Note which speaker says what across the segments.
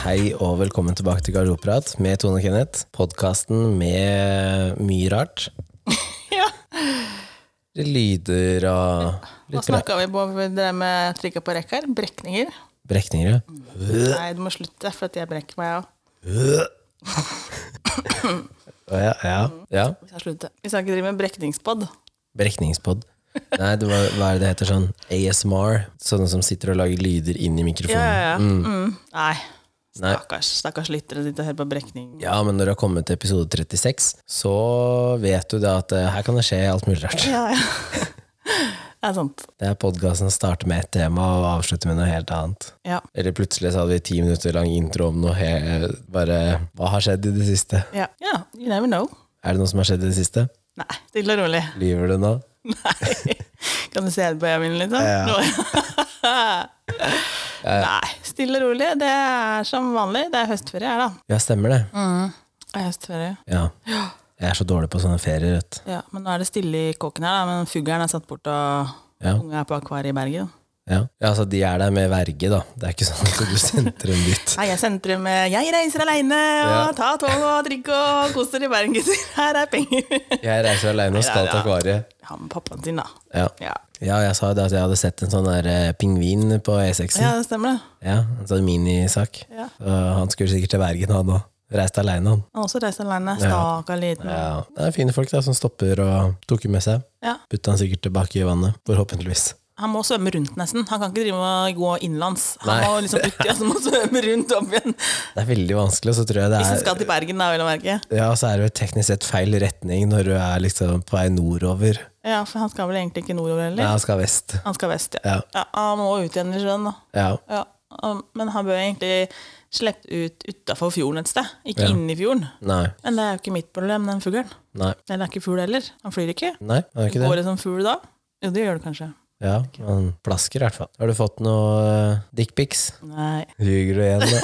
Speaker 1: Hei og velkommen tilbake til Garderobeprat med Tone og Kenneth. Podkasten med mye rart.
Speaker 2: Ja.
Speaker 1: Litt lyder og
Speaker 2: Hva
Speaker 1: litt
Speaker 2: snakka vi på før det med trykka på rekk her? Brekninger?
Speaker 1: bre- brekninger.
Speaker 2: Mm.
Speaker 1: ja.
Speaker 2: Nei, du må slutte, for at jeg brekker meg òg.
Speaker 1: Å Ja, ja. ja.
Speaker 2: Vi skal slutte. Vi skal ikke drive med brekningspod.
Speaker 1: Brekningspod. Nei, det var, hva er det det heter sånn? ASMR? Sånne som sitter og lager lyder inn i
Speaker 2: Ja,
Speaker 1: mikrofonen.
Speaker 2: ja, ja. Mm. Nei.
Speaker 1: Nei.
Speaker 2: Stakkars, stakkars lyttere sitter og hører på brekning.
Speaker 1: Ja, men når du har kommet til episode 36, så vet du da at eh, her kan det skje alt mulig rart.
Speaker 2: Ja, ja. Det er sant.
Speaker 1: Det er podkasten starter med ett tema og avslutter med noe helt annet.
Speaker 2: Ja.
Speaker 1: Eller plutselig så hadde vi ti minutter lang intro om noe he bare Hva har skjedd i det siste?
Speaker 2: Ja. ja. You never know.
Speaker 1: Er det noe som har skjedd i det siste?
Speaker 2: Nei, stille og rolig.
Speaker 1: Lyver du nå?
Speaker 2: Nei. Kan du se det på øynene mine liksom? litt? da?
Speaker 1: Ja.
Speaker 2: Nå- Nei, stille og rolig. Det er som vanlig. Det er høstferie her, da.
Speaker 1: Ja, stemmer det.
Speaker 2: Det er høstferie.
Speaker 1: Ja. Jeg er så dårlig på sånne ferier, vet du.
Speaker 2: Ja, men nå er det stille i kåken her, da, men fuglen er satt bort, og
Speaker 1: Ja.
Speaker 2: unge er på akvariet i Bergen.
Speaker 1: Ja. ja, altså de er der med verge, da. Det er ikke sånn at du sentrer dem dit.
Speaker 2: Nei, jeg sendte dem med 'jeg reiser aleine',
Speaker 1: Ja.
Speaker 2: og 'ta tog og drikk og kos dere i Bergen, gutter', her er penger.
Speaker 1: Jeg reiser alene og skal til akvariet.
Speaker 2: Ja, med pappaen sin, da.
Speaker 1: Ja.
Speaker 2: Ja,
Speaker 1: ja, jeg sa jo det at jeg hadde sett en sånn der eh, pingvin på E6-en.
Speaker 2: ja det stemmer, det.
Speaker 1: Ja, en sånn minisak.
Speaker 2: Ja.
Speaker 1: Så han skulle sikkert til Bergen, han òg. Reiste aleine, han.
Speaker 2: Han har også reist aleine. Stakkar liten. Ja.
Speaker 1: Ja. Det er fine folk da, som stopper og tok jo med seg. Putta han sikkert tilbake i vannet, forhåpentligvis.
Speaker 2: Han må svømme rundt, nesten. Han kan ikke drive med å gå innenlands. Han
Speaker 1: Nei.
Speaker 2: må liksom uti, og så må han svømme rundt opp igjen.
Speaker 1: Det er veldig vanskelig, og så tror jeg det
Speaker 2: Hvis han
Speaker 1: er
Speaker 2: skal til Bergen, da, vil jeg merke.
Speaker 1: Ja, så er det jo teknisk sett feil retning når du er liksom på vei nordover.
Speaker 2: Ja, for han skal vel egentlig ikke nordover
Speaker 1: Nei,
Speaker 2: heller.
Speaker 1: han skal vest.
Speaker 2: Han skal vest, ja.
Speaker 1: Ja.
Speaker 2: ja. Han må ut igjen i sjøen, da.
Speaker 1: Ja.
Speaker 2: Ja, um, men han bør egentlig slippe ut utafor fjorden et sted, ikke
Speaker 1: Ja.
Speaker 2: inni fjorden.
Speaker 1: Nei.
Speaker 2: Men det er jo ikke mitt problem, den fuglen.
Speaker 1: Nei.
Speaker 2: Den er ikke fugl heller. Han flyr ikke.
Speaker 1: Nei, er det ikke
Speaker 2: Går
Speaker 1: det?
Speaker 2: det som fugl da? Jo, det gjør det kanskje.
Speaker 1: Ja, han plasker i hvert fall. Har du fått noe uh, dickpics?
Speaker 2: Nei.
Speaker 1: Ljuger du igjen, da?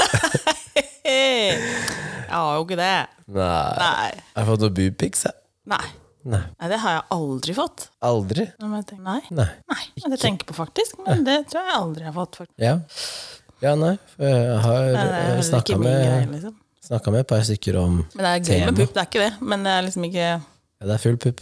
Speaker 2: Hey, jeg har jo ikke det.
Speaker 1: Nei.
Speaker 2: Nei.
Speaker 1: Har du fått noe boobpics, da?
Speaker 2: Nei.
Speaker 1: Nei.
Speaker 2: Nei, det har jeg aldri fått.
Speaker 1: Aldri?
Speaker 2: Nå må jeg tenke- Nei.
Speaker 1: Nei.
Speaker 2: Nei, det er det jeg tenker på faktisk, men det tror jeg aldri jeg har fått. Faktisk.
Speaker 1: Ja. Ja, nei. for Jeg
Speaker 2: Nei, det er
Speaker 1: har
Speaker 2: heller
Speaker 1: snakka
Speaker 2: ikke min greie,
Speaker 1: med,
Speaker 2: liksom.
Speaker 1: snakket med et par stykker om
Speaker 2: Men det er gøy med
Speaker 1: Tema.
Speaker 2: pupp, det er ikke det. Men det er liksom ikke,
Speaker 1: Ja, det er full pupp.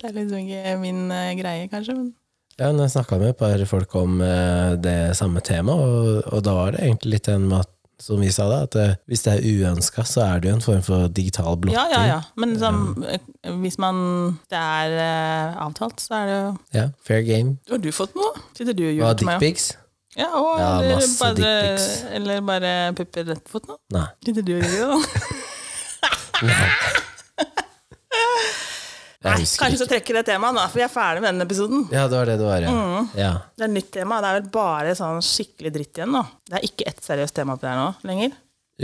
Speaker 2: det er liksom ikke min eh, greie, kanskje. Men
Speaker 1: Ja, men jeg snakka med et par folk om eh, det samme temaet, og, og da var det egentlig litt den med at, som vi sa da, at eh, hvis det er uønska, så er det jo en form for digital blokking.
Speaker 2: Ja, ja, ja. Men liksom, eh, hvis man, det er eh, avtalt, så er det jo
Speaker 1: Ja, fair game.
Speaker 2: Har du fått noe? Sitter du og
Speaker 1: Hva,
Speaker 2: ljuger til meg?
Speaker 1: dickpics?
Speaker 2: Ja, ja, og,
Speaker 1: Ja,
Speaker 2: eller,
Speaker 1: masse
Speaker 2: bare,
Speaker 1: dickpics.
Speaker 2: eller bare pupper rett på foten? da?
Speaker 1: Nei.
Speaker 2: Sitter du og ljuger, da?
Speaker 1: Jeg husker
Speaker 2: Kanskje
Speaker 1: ikke.
Speaker 2: så trekker det temaet, da, for vi er ferdig med denne episoden.
Speaker 1: Ja, det var det det var, ja.
Speaker 2: Mm.
Speaker 1: ja.
Speaker 2: Det er nytt tema. Det er vel bare sånn skikkelig dritt igjen, da. Det er ikke ett seriøst tema på det her nå lenger.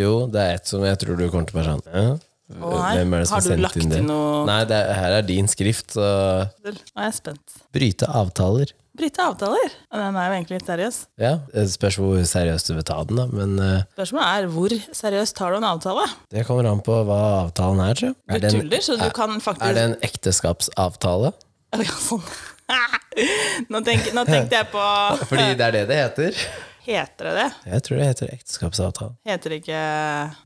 Speaker 1: Jo, det er et som jeg tror du kommer til å være sånn ja.
Speaker 2: nei.
Speaker 1: Hvem er det som
Speaker 2: Har
Speaker 1: har
Speaker 2: du lagt
Speaker 1: sendt inn det?
Speaker 2: inn noe-
Speaker 1: Nei, det er, her er din skrift, så
Speaker 2: Nå er jeg spent.
Speaker 1: Bryte avtaler.
Speaker 2: Bryte avtaler. Ja, Den er jo egentlig litt seriøs.
Speaker 1: Ja, det spørs hvor seriøst du vil ta den, da, men eh,
Speaker 2: Spørsmålet er hvor seriøst tar du en avtale?
Speaker 1: det kommer an på hva avtalen er, tror jeg.
Speaker 2: Du
Speaker 1: Er det en,
Speaker 2: tuller, så du kan faktisk
Speaker 1: er det en ekteskapsavtale?
Speaker 2: Å, Ja, sånn. Nå, tenk, nå tenkte jeg på
Speaker 1: Fordi det er det det heter.
Speaker 2: Heter det det?
Speaker 1: Jeg tror det heter ekteskapsavtale.
Speaker 2: Heter det ikke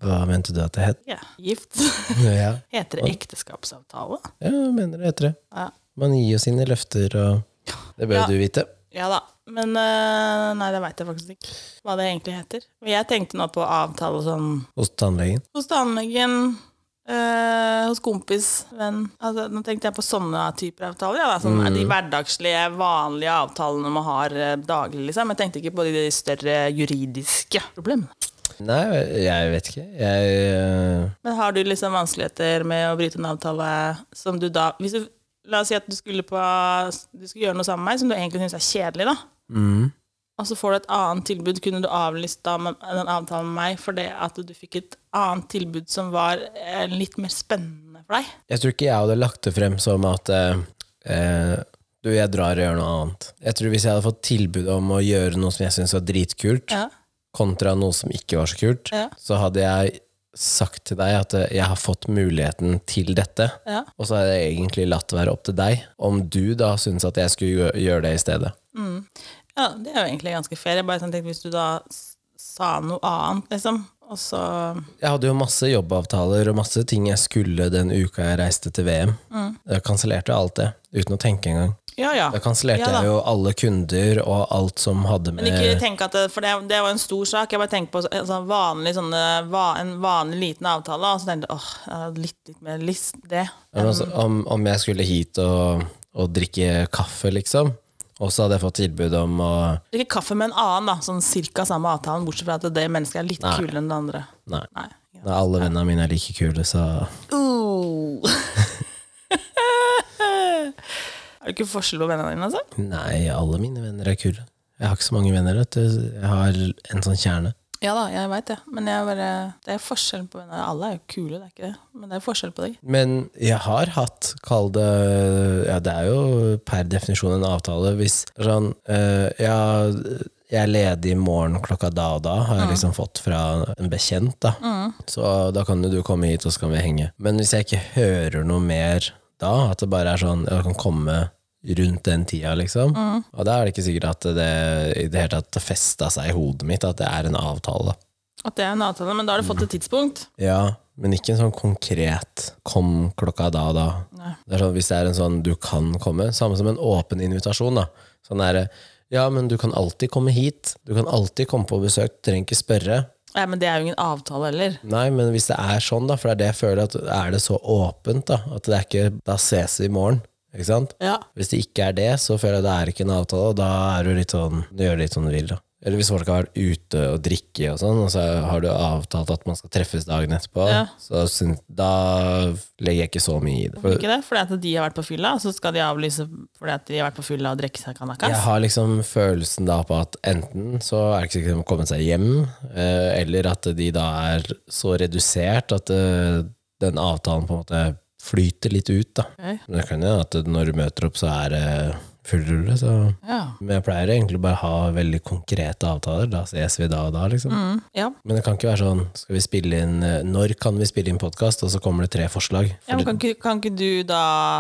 Speaker 1: Hva mente du at det het?
Speaker 2: ja, gift?
Speaker 1: Ja,
Speaker 2: Heter det ekteskapsavtale?
Speaker 1: ja jeg mener det heter det.
Speaker 2: Ja.
Speaker 1: Man gir jo sine løfter, og det bør jo
Speaker 2: Ja.
Speaker 1: du vite.
Speaker 2: Ja da. Men eh, nei, det veit jeg faktisk ikke hva det egentlig heter. Men jeg tenkte nå på avtale sånn
Speaker 1: Hos tannlegen.
Speaker 2: hos tannlegen, eh, hos kompis, venn altså, Nå tenkte jeg på sånne typer avtaler. Ja, da. Sånn, De hverdagslige, vanlige avtalene man har eh, daglig, liksom. Jeg tenkte ikke på de større juridiske problemene.
Speaker 1: Nei, jeg vet ikke. Jeg øh,
Speaker 2: Men har du liksom vanskeligheter med å bryte en avtale som du da hvis du, La oss si at du skulle, på, du skulle gjøre noe sammen med meg som du egentlig syns er kjedelig, da.
Speaker 1: mm.
Speaker 2: Og så får du et annet tilbud. Kunne du avlyst da med, den avtalen med meg fordi at du fikk et annet tilbud som var eh, litt mer spennende for deg?
Speaker 1: Jeg tror ikke jeg hadde lagt det frem som at eh, eh, du, jeg drar og gjør noe annet. Jeg tror Hvis jeg hadde fått tilbud om å gjøre noe som jeg syntes var dritkult,
Speaker 2: Ja.
Speaker 1: kontra noe som ikke var så kult,
Speaker 2: Ja.
Speaker 1: så hadde jeg sagt til deg at eh, jeg har fått muligheten til dette,
Speaker 2: Ja.
Speaker 1: og så hadde jeg egentlig latt det være opp til deg, om du da syntes at jeg skulle gjø- gjøre det i stedet.
Speaker 2: Ja, det er jo egentlig ganske fair. Jeg bare sånn tenkte hvis du da s- sa noe annet, liksom. Og så
Speaker 1: Jeg hadde jo masse jobbavtaler og masse ting jeg skulle den uka jeg reiste til VM.
Speaker 2: Mm.
Speaker 1: Jeg kansellerte alt det, uten å tenke engang.
Speaker 2: Ja, ja.
Speaker 1: Da kansellerte
Speaker 2: Ja da.
Speaker 1: jeg jo alle kunder og alt som hadde med
Speaker 2: Men ikke tenk at det, For det, det var en stor sak. Jeg bare tenkte på så- en sånn vanlig, sånne, va, en vanlig liten avtale, og så tenkte jeg åh, jeg hadde litt, litt mer lyst det.
Speaker 1: Ja, men altså, om, om jeg skulle hit og, og drikke kaffe, liksom, og så hadde jeg fått tilbud om å
Speaker 2: Ikke kaffe med en annen, da. Sånn cirka samme avtalen, bortsett fra at det mennesket er litt kulere enn det andre.
Speaker 1: Nei.
Speaker 2: Nei. Ja.
Speaker 1: Nei, alle vennene mine er like kule, så
Speaker 2: Oh. er det ikke forskjell på vennene dine, altså?
Speaker 1: Nei, alle mine venner er kule. Jeg har ikke så mange venner, vet du. Jeg har en sånn kjerne.
Speaker 2: Ja da, jeg veit det. Men jeg bare, det er forskjell på venner. Alle er jo kule, det er ikke det. Men det er forskjell på deg.
Speaker 1: Men jeg har hatt, kall det Ja, det er jo per definisjon en avtale. Hvis sånn eh, Ja, jeg er ledig i morgen klokka da og da, har jeg liksom fått fra en bekjent, da. Så da kan jo du komme hit, og så kan vi henge. Men hvis jeg ikke hører noe mer da, at det bare er sånn Jeg kan komme rundt den tida, liksom. Og da er det ikke sikkert at det i det hele tatt festa seg i hodet mitt at det er en avtale.
Speaker 2: At det er en avtale, men da har du fått et tidspunkt.
Speaker 1: Ja, men ikke en sånn konkret 'kom klokka da og da'.
Speaker 2: Nei.
Speaker 1: Det er sånn, hvis det er en sånn 'du kan komme', samme som en åpen invitasjon. da. Sånn er, Ja, men du kan alltid komme hit. Du kan alltid komme på besøk. Du trenger ikke spørre.
Speaker 2: Ja, men det er jo ingen avtale heller.
Speaker 1: Nei, men hvis det er sånn, da, for det er det jeg føler, at er det så åpent, da, at det er ikke 'da ses vi i morgen', ikke sant?
Speaker 2: Ja.
Speaker 1: Hvis det ikke er det, så føler jeg det er ikke en avtale, og da er du litt sånn, du gjør litt som du vil, da. Eller hvis folk har vært ute og drikke og sånn, og så har du avtalt at man skal treffes dagen etterpå,
Speaker 2: Ja.
Speaker 1: så syns- da legger jeg ikke så mye i det. For
Speaker 2: Ikke det? Fordi at de har vært på fylla, og så skal de avlyse fordi at de har vært på fylla og drikke seg
Speaker 1: jeg
Speaker 2: kanakas.
Speaker 1: har liksom følelsen da på at enten så er det ikke sikkert de har kommet seg hjem, eh, eller at de da er så redusert at eh, den avtalen på en måte flyter litt ut, da.
Speaker 2: Ok.
Speaker 1: Men det kan jo hende at når du møter opp, så er det full rulle, så
Speaker 2: Ja.
Speaker 1: Men jeg pleier egentlig bare å ha veldig konkrete avtaler. Da ses vi da og da, liksom.
Speaker 2: Mm, ja.
Speaker 1: Men det kan ikke være sånn skal vi spille inn, eh, Når kan vi spille inn podkast? Og så kommer det tre forslag.
Speaker 2: ja men kan, ikke- kan ikke du da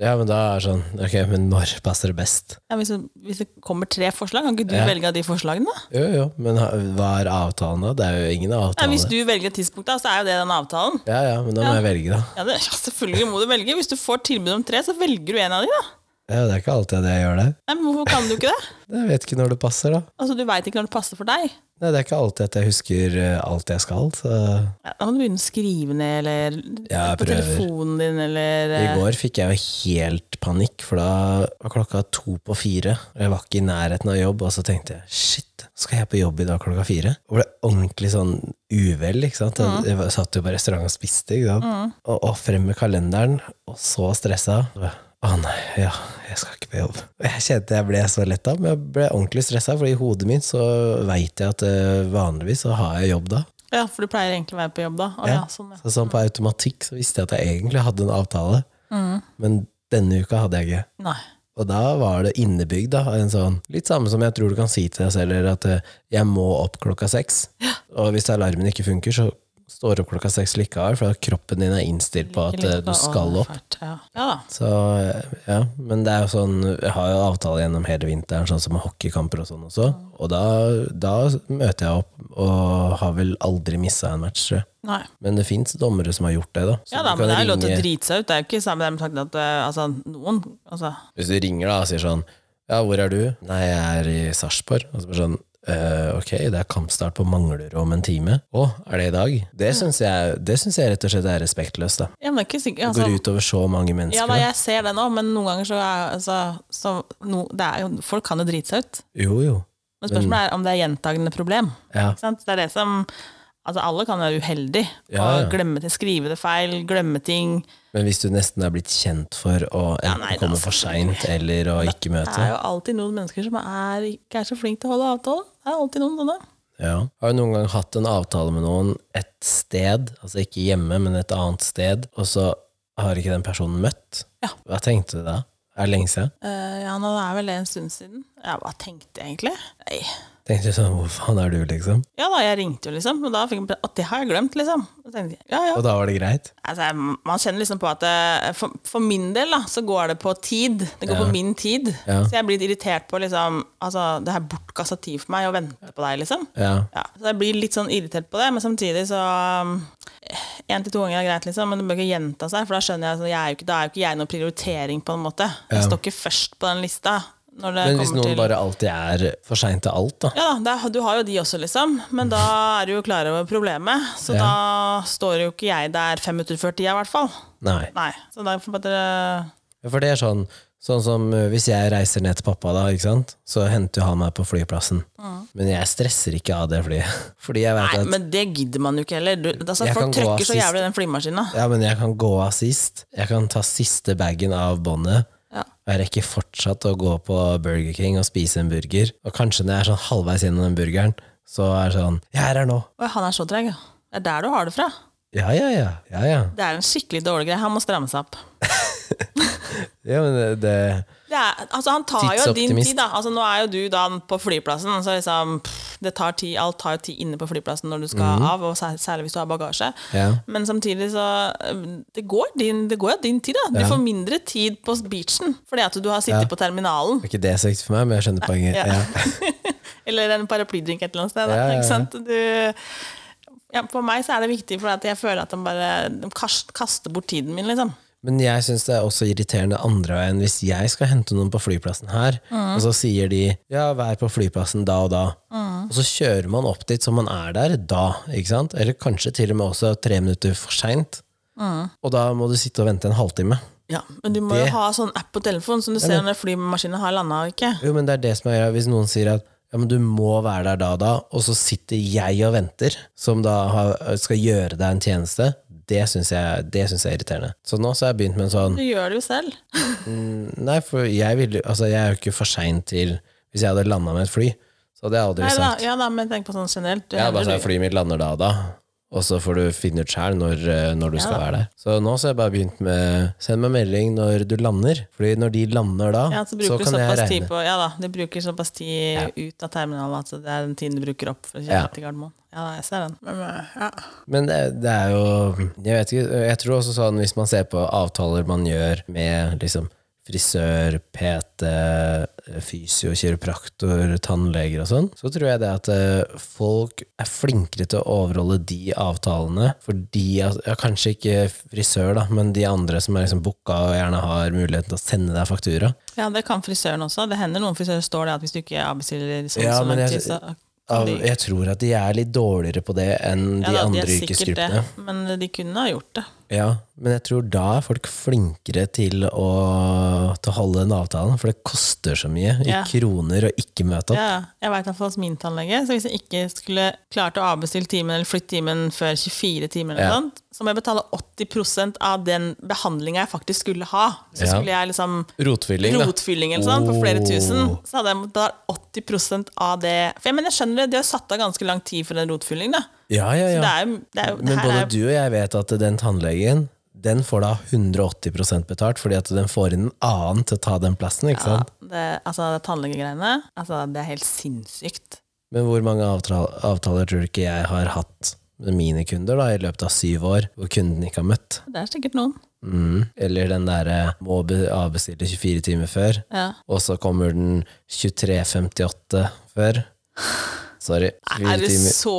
Speaker 1: Ja, men da er det sånn Ok, men når passer det best?
Speaker 2: ja, hvis, det, hvis det kommer tre forslag, kan ikke du
Speaker 1: Ja.
Speaker 2: velge av de forslagene? da?
Speaker 1: Jo, jo, men ha- hva er avtalen da? Det er jo ingen
Speaker 2: Ja,
Speaker 1: avtale.
Speaker 2: hvis du velger et tidspunkt, da, så er jo det den avtalen.
Speaker 1: Ja, ja, men da må jeg velge, da.
Speaker 2: Ja, det, ja, selvfølgelig må du velge. Hvis du får tilbud om tre, så velger du en av de, da.
Speaker 1: Ja, det er ikke alltid at jeg gjør det.
Speaker 2: Nei, men hvorfor kan du ikke det?
Speaker 1: Jeg vet ikke når det passer, da.
Speaker 2: Altså, Du veit ikke når det passer for deg.
Speaker 1: Nei, det er ikke alltid at jeg husker eh, alt jeg skal. Så
Speaker 2: Ja, da må du begynne å skrive ned, eller
Speaker 1: Ja, jeg
Speaker 2: på
Speaker 1: prøver.
Speaker 2: telefonen din, eller
Speaker 1: I
Speaker 2: eh,
Speaker 1: går fikk jeg jo helt panikk, for da var klokka to på fire. og Jeg var ikke i nærheten av jobb, og så tenkte jeg shit, skal jeg på jobb i dag klokka fire? Og ble ordentlig sånn uvel, ikke sant. Jeg- Jeg var- satt jo på restaurant og spiste, ikke sant. Og, og frem med kalenderen, og så stressa. Og jeg, Å nei, ja, jeg skal ikke på jobb. Og Jeg kjente jeg ble så letta, men jeg ble ordentlig stressa, for i hodet mitt så veit jeg at eh, vanligvis så har jeg jobb da.
Speaker 2: eh, Ja, for du pleier egentlig å være på jobb da. Å, ja.
Speaker 1: Ja.
Speaker 2: sånn, ja.
Speaker 1: Så sånn på automatikk så visste jeg at jeg egentlig hadde en avtale,
Speaker 2: Mm.
Speaker 1: men denne uka hadde jeg ikke.
Speaker 2: Nei.
Speaker 1: Og da var det innebygd, da. En sånn, litt samme som jeg tror du kan si til deg selv, eller at eh, 'jeg må opp klokka seks'. Og hvis alarmen ikke funker, så står du opp klokka seks likevel, for kroppen din er innstilt på at
Speaker 2: Ikke
Speaker 1: eh,
Speaker 2: litt
Speaker 1: du
Speaker 2: på-
Speaker 1: skal
Speaker 2: å,
Speaker 1: opp.
Speaker 2: fælt, Ja. ja da.
Speaker 1: Så eh, ja, Men det er jo sånn, jeg har jo avtale gjennom hele vinteren, sånn som med hockeykamper og sånn også.
Speaker 2: Mm.
Speaker 1: Og da, da møter jeg opp, og har vel aldri missa en match, tror jeg.
Speaker 2: Nei.
Speaker 1: Men det fins dommere som har gjort det, da. Så
Speaker 2: Ja da,
Speaker 1: du kan
Speaker 2: men det er jo lov til å
Speaker 1: ringe-
Speaker 2: drite seg ut. Det er jo ikke samme det med tanken at eh, altså, noen altså,
Speaker 1: Hvis du ringer da og sier sånn Ja, hvor er du? Nei, jeg er i Sarpsborg. Og så bare sånn «Eh, Ok, det er kampstart på Manglerud om en time. Å, er det i dag? Det syns jeg, det synes jeg rett og slett er respektløst, da.
Speaker 2: ja, men det er ikke sikkert
Speaker 1: Det
Speaker 2: altså,
Speaker 1: går ut over så mange mennesker.
Speaker 2: Ja da,
Speaker 1: da.
Speaker 2: jeg ser det nå, men noen ganger så er altså, så, no, det er jo, Folk kan jo drite seg ut.
Speaker 1: Jo, jo.
Speaker 2: Men spørsmålet er om det er gjentagende problem.
Speaker 1: Ja.
Speaker 2: Ikke sant? Det er det som Altså, alle kan være uheldige
Speaker 1: Ja, ja.
Speaker 2: og glemme ting, skrive det feil, glemme ting.
Speaker 1: Men hvis du nesten er blitt kjent for å
Speaker 2: Ja,
Speaker 1: enten
Speaker 2: nei, da, altså.
Speaker 1: komme for seint eller å ikke
Speaker 2: Det
Speaker 1: møte
Speaker 2: er jo alltid noen mennesker som er, ikke er så flinke til å holde avtale. Det er alltid noen sånne.
Speaker 1: ja. Har du noen gang hatt en avtale med noen et sted, altså ikke hjemme, men et annet sted, og så har ikke den personen møtt?
Speaker 2: Ja.
Speaker 1: Hva tenkte du da? Er det lenge siden?
Speaker 2: Eh, ja, nå er vel det en stund siden. Ja, hva tenkte jeg egentlig? Nei,
Speaker 1: Tenkte sånn, hvor faen er du, liksom?
Speaker 2: Ja da, jeg ringte jo, liksom. Og da fikk jeg beskjed at det har jeg glemt, liksom. Og tenkte jeg, ja, ja.
Speaker 1: Og da var det greit?
Speaker 2: Altså, jeg- man kjenner liksom på at eh, for, for min del da, så går det på tid. Det går
Speaker 1: Ja.
Speaker 2: på min tid.
Speaker 1: Ja.
Speaker 2: Så jeg blir litt irritert på liksom Altså, det er bortkasta tid for meg å vente på deg, liksom.
Speaker 1: Ja.
Speaker 2: Ja, så jeg blir litt sånn irritert på det, men samtidig så um, en til to ganger er greit, liksom, men det bør ikke gjenta seg. For da skjønner jeg at jeg er jo ikke, da er jo ikke jeg noen prioritering, på en måte. Jeg står ikke først på den lista. Når det
Speaker 1: Men hvis
Speaker 2: kommer
Speaker 1: noen
Speaker 2: til...
Speaker 1: bare alltid er for sein til alt, da?
Speaker 2: Ja da, det, er- du har jo de også, liksom. Men da er du jo klar over problemet. Så
Speaker 1: Ja.
Speaker 2: da står jo ikke jeg der fem minutter før tida, i hvert fall.
Speaker 1: Nei.
Speaker 2: Nei. Så da får bare
Speaker 1: For det er sånn, sånn som eh, hvis jeg reiser ned til pappa, da, ikke sant? så henter jo han meg på flyplassen. Men jeg stresser ikke av det flyet. Fordi jeg vet
Speaker 2: Mm. Nei,
Speaker 1: at
Speaker 2: men det gidder man jo ikke heller. Du, altså,
Speaker 1: Jeg kan
Speaker 2: folk
Speaker 1: gå av
Speaker 2: trøkker så
Speaker 1: sist.
Speaker 2: jævlig i den flymaskina.
Speaker 1: ja, men jeg kan gå av sist. Jeg kan ta siste bagen av båndet.
Speaker 2: Ja.
Speaker 1: Og jeg rekker fortsatt å gå på Burger King og spise en burger. Og kanskje når jeg er sånn halvveis gjennom den burgeren, så er det sånn Jeg er her nå!
Speaker 2: Oi, han er så treg, ja. Det er der du har det fra.
Speaker 1: Ja, ja, ja. Ja, ja.
Speaker 2: Det er en skikkelig dårlig greie. Han må stramme seg opp.
Speaker 1: ja men det, det
Speaker 2: Det er, altså han tar jo din
Speaker 1: Tidsoptimist.
Speaker 2: tid, da. Altså, nå er jo du da på flyplassen. Så liksom, pff, det tar tid, alt tar jo tid inne på flyplassen når du skal av, og sær- særlig hvis du har bagasje.
Speaker 1: Mhm. Ja.
Speaker 2: Men samtidig så øhm, Det går, din, det går jo din tid, da. Du
Speaker 1: Ja.
Speaker 2: får mindre tid på beachen fordi at du har sittet
Speaker 1: Ja.
Speaker 2: på terminalen.
Speaker 1: Det er ikke det så viktig for meg, men jeg skjønner poenget.
Speaker 2: ja.
Speaker 1: Ja.
Speaker 2: Eller en paraplydrink et eller annet sted. Da.
Speaker 1: Ja, ja, ja.
Speaker 2: Ikke sant? Du, ja, for meg så er det viktig, for at jeg føler at de bare de kast- kaster bort tiden min, liksom.
Speaker 1: Men jeg syns det er også irriterende andre veien hvis jeg skal hente noen på flyplassen her, og så sier de 'ja, vær på flyplassen da og da', og så kjører man opp dit så man er der da, ikke sant? Eller kanskje til og med også tre minutter for seint, og da må du sitte og vente en halvtime.
Speaker 2: Ja, men du må
Speaker 1: Det-
Speaker 2: jo ha sånn app på telefonen, som du ser når flymaskinen har landa og ikke.
Speaker 1: Jo, men det er det som er greia. Hvis noen sier at ja, men du må være der da og da, og så sitter jeg og venter, som da har, skal gjøre deg en tjeneste, det syns jeg, det synes jeg er irriterende. Så nå så har jeg begynt med en sånn
Speaker 2: Du gjør det jo selv.
Speaker 1: Nei, for jeg, ville, altså, jeg er jo ikke for sein til Hvis jeg hadde landa med et fly, så hadde jeg aldri
Speaker 2: Nei, da,
Speaker 1: sagt
Speaker 2: ja da, men tenk på sånn generelt. Du
Speaker 1: Jeg hadde
Speaker 2: hender
Speaker 1: bare sagt
Speaker 2: du-
Speaker 1: flyet mitt lander da og da, og så får du finne ut sjæl når, eh, når du skal være der. Så nå så har jeg bare begynt med Send meg melding når du lander, Fordi når de lander da,
Speaker 2: ja, så
Speaker 1: så,
Speaker 2: bruker du
Speaker 1: kan jeg
Speaker 2: såpass tid
Speaker 1: regne.
Speaker 2: på Ja da, du bruker såpass tid ut av terminalen at det er den tiden du bruker opp for å kjøre
Speaker 1: Ja.
Speaker 2: til Gardermoen. Ja, da, jeg ser den. Men, eh, ja.
Speaker 1: Men det, det er jo Jeg vet ikke, jeg tror også sånn hvis man ser på avtaler man gjør med liksom frisør, PT, fysio, kiropraktor, tannleger og sånn, så tror jeg det at eh, folk er flinkere til å overholde de avtalene, fordi at ja, Kanskje ikke frisør, da, men de andre som er liksom booka og gjerne har muligheten til å sende deg faktura.
Speaker 2: ja, det kan frisøren også. Det hender noen frisører står det at hvis du ikke avbestiller sånn
Speaker 1: Ja,
Speaker 2: så
Speaker 1: men
Speaker 2: lang
Speaker 1: jeg-
Speaker 2: tid, så kan
Speaker 1: Av,
Speaker 2: de-
Speaker 1: jeg tror at de er litt dårligere på det enn de
Speaker 2: da,
Speaker 1: andre
Speaker 2: er sikkert
Speaker 1: yrkesgruppene.
Speaker 2: Det, men de kunne ha gjort det.
Speaker 1: Ja, men jeg tror da er folk flinkere til å, til å holde den avtalen, for det koster så mye i
Speaker 2: Ja.
Speaker 1: kroner å ikke møte opp.
Speaker 2: Ja, jeg vet at hos min tannlege, så hvis jeg ikke skulle klart å avbestille timen eller flytte timen før 24 timer, eller
Speaker 1: Ja.
Speaker 2: noe sånt, så må jeg betale 80 av den behandlinga jeg faktisk skulle ha. Så
Speaker 1: Ja.
Speaker 2: skulle jeg liksom
Speaker 1: Rotfylling, da.
Speaker 2: rotfylling eller sånn, på flere
Speaker 1: Oh.
Speaker 2: tusen, så hadde jeg betalt 80 av det. For jeg, mener, jeg skjønner det, de har satt av ganske lang tid for en rotfylling, da.
Speaker 1: Ja, ja,
Speaker 2: Det
Speaker 1: ja.
Speaker 2: er jo, det er jo, det
Speaker 1: Men
Speaker 2: her
Speaker 1: både
Speaker 2: er,
Speaker 1: du og jeg vet at den tannlegen den får da 180 betalt, fordi at den får inn en annen til å ta den plassen. ikke
Speaker 2: ja,
Speaker 1: sant?
Speaker 2: det, altså, det tannlegegreiene, altså, det er helt sinnssykt.
Speaker 1: Men hvor mange avtaler, avtaler tror du ikke jeg har hatt med mine kunder da, i løpet av syv år, hvor kunden ikke har møtt?
Speaker 2: Det er sikkert noen.
Speaker 1: Mm. Eller den derre må be- avbestille 24 timer før.
Speaker 2: Ja.
Speaker 1: Og så kommer den 23.58 før. Sorry. fire
Speaker 2: Er det
Speaker 1: timer.
Speaker 2: så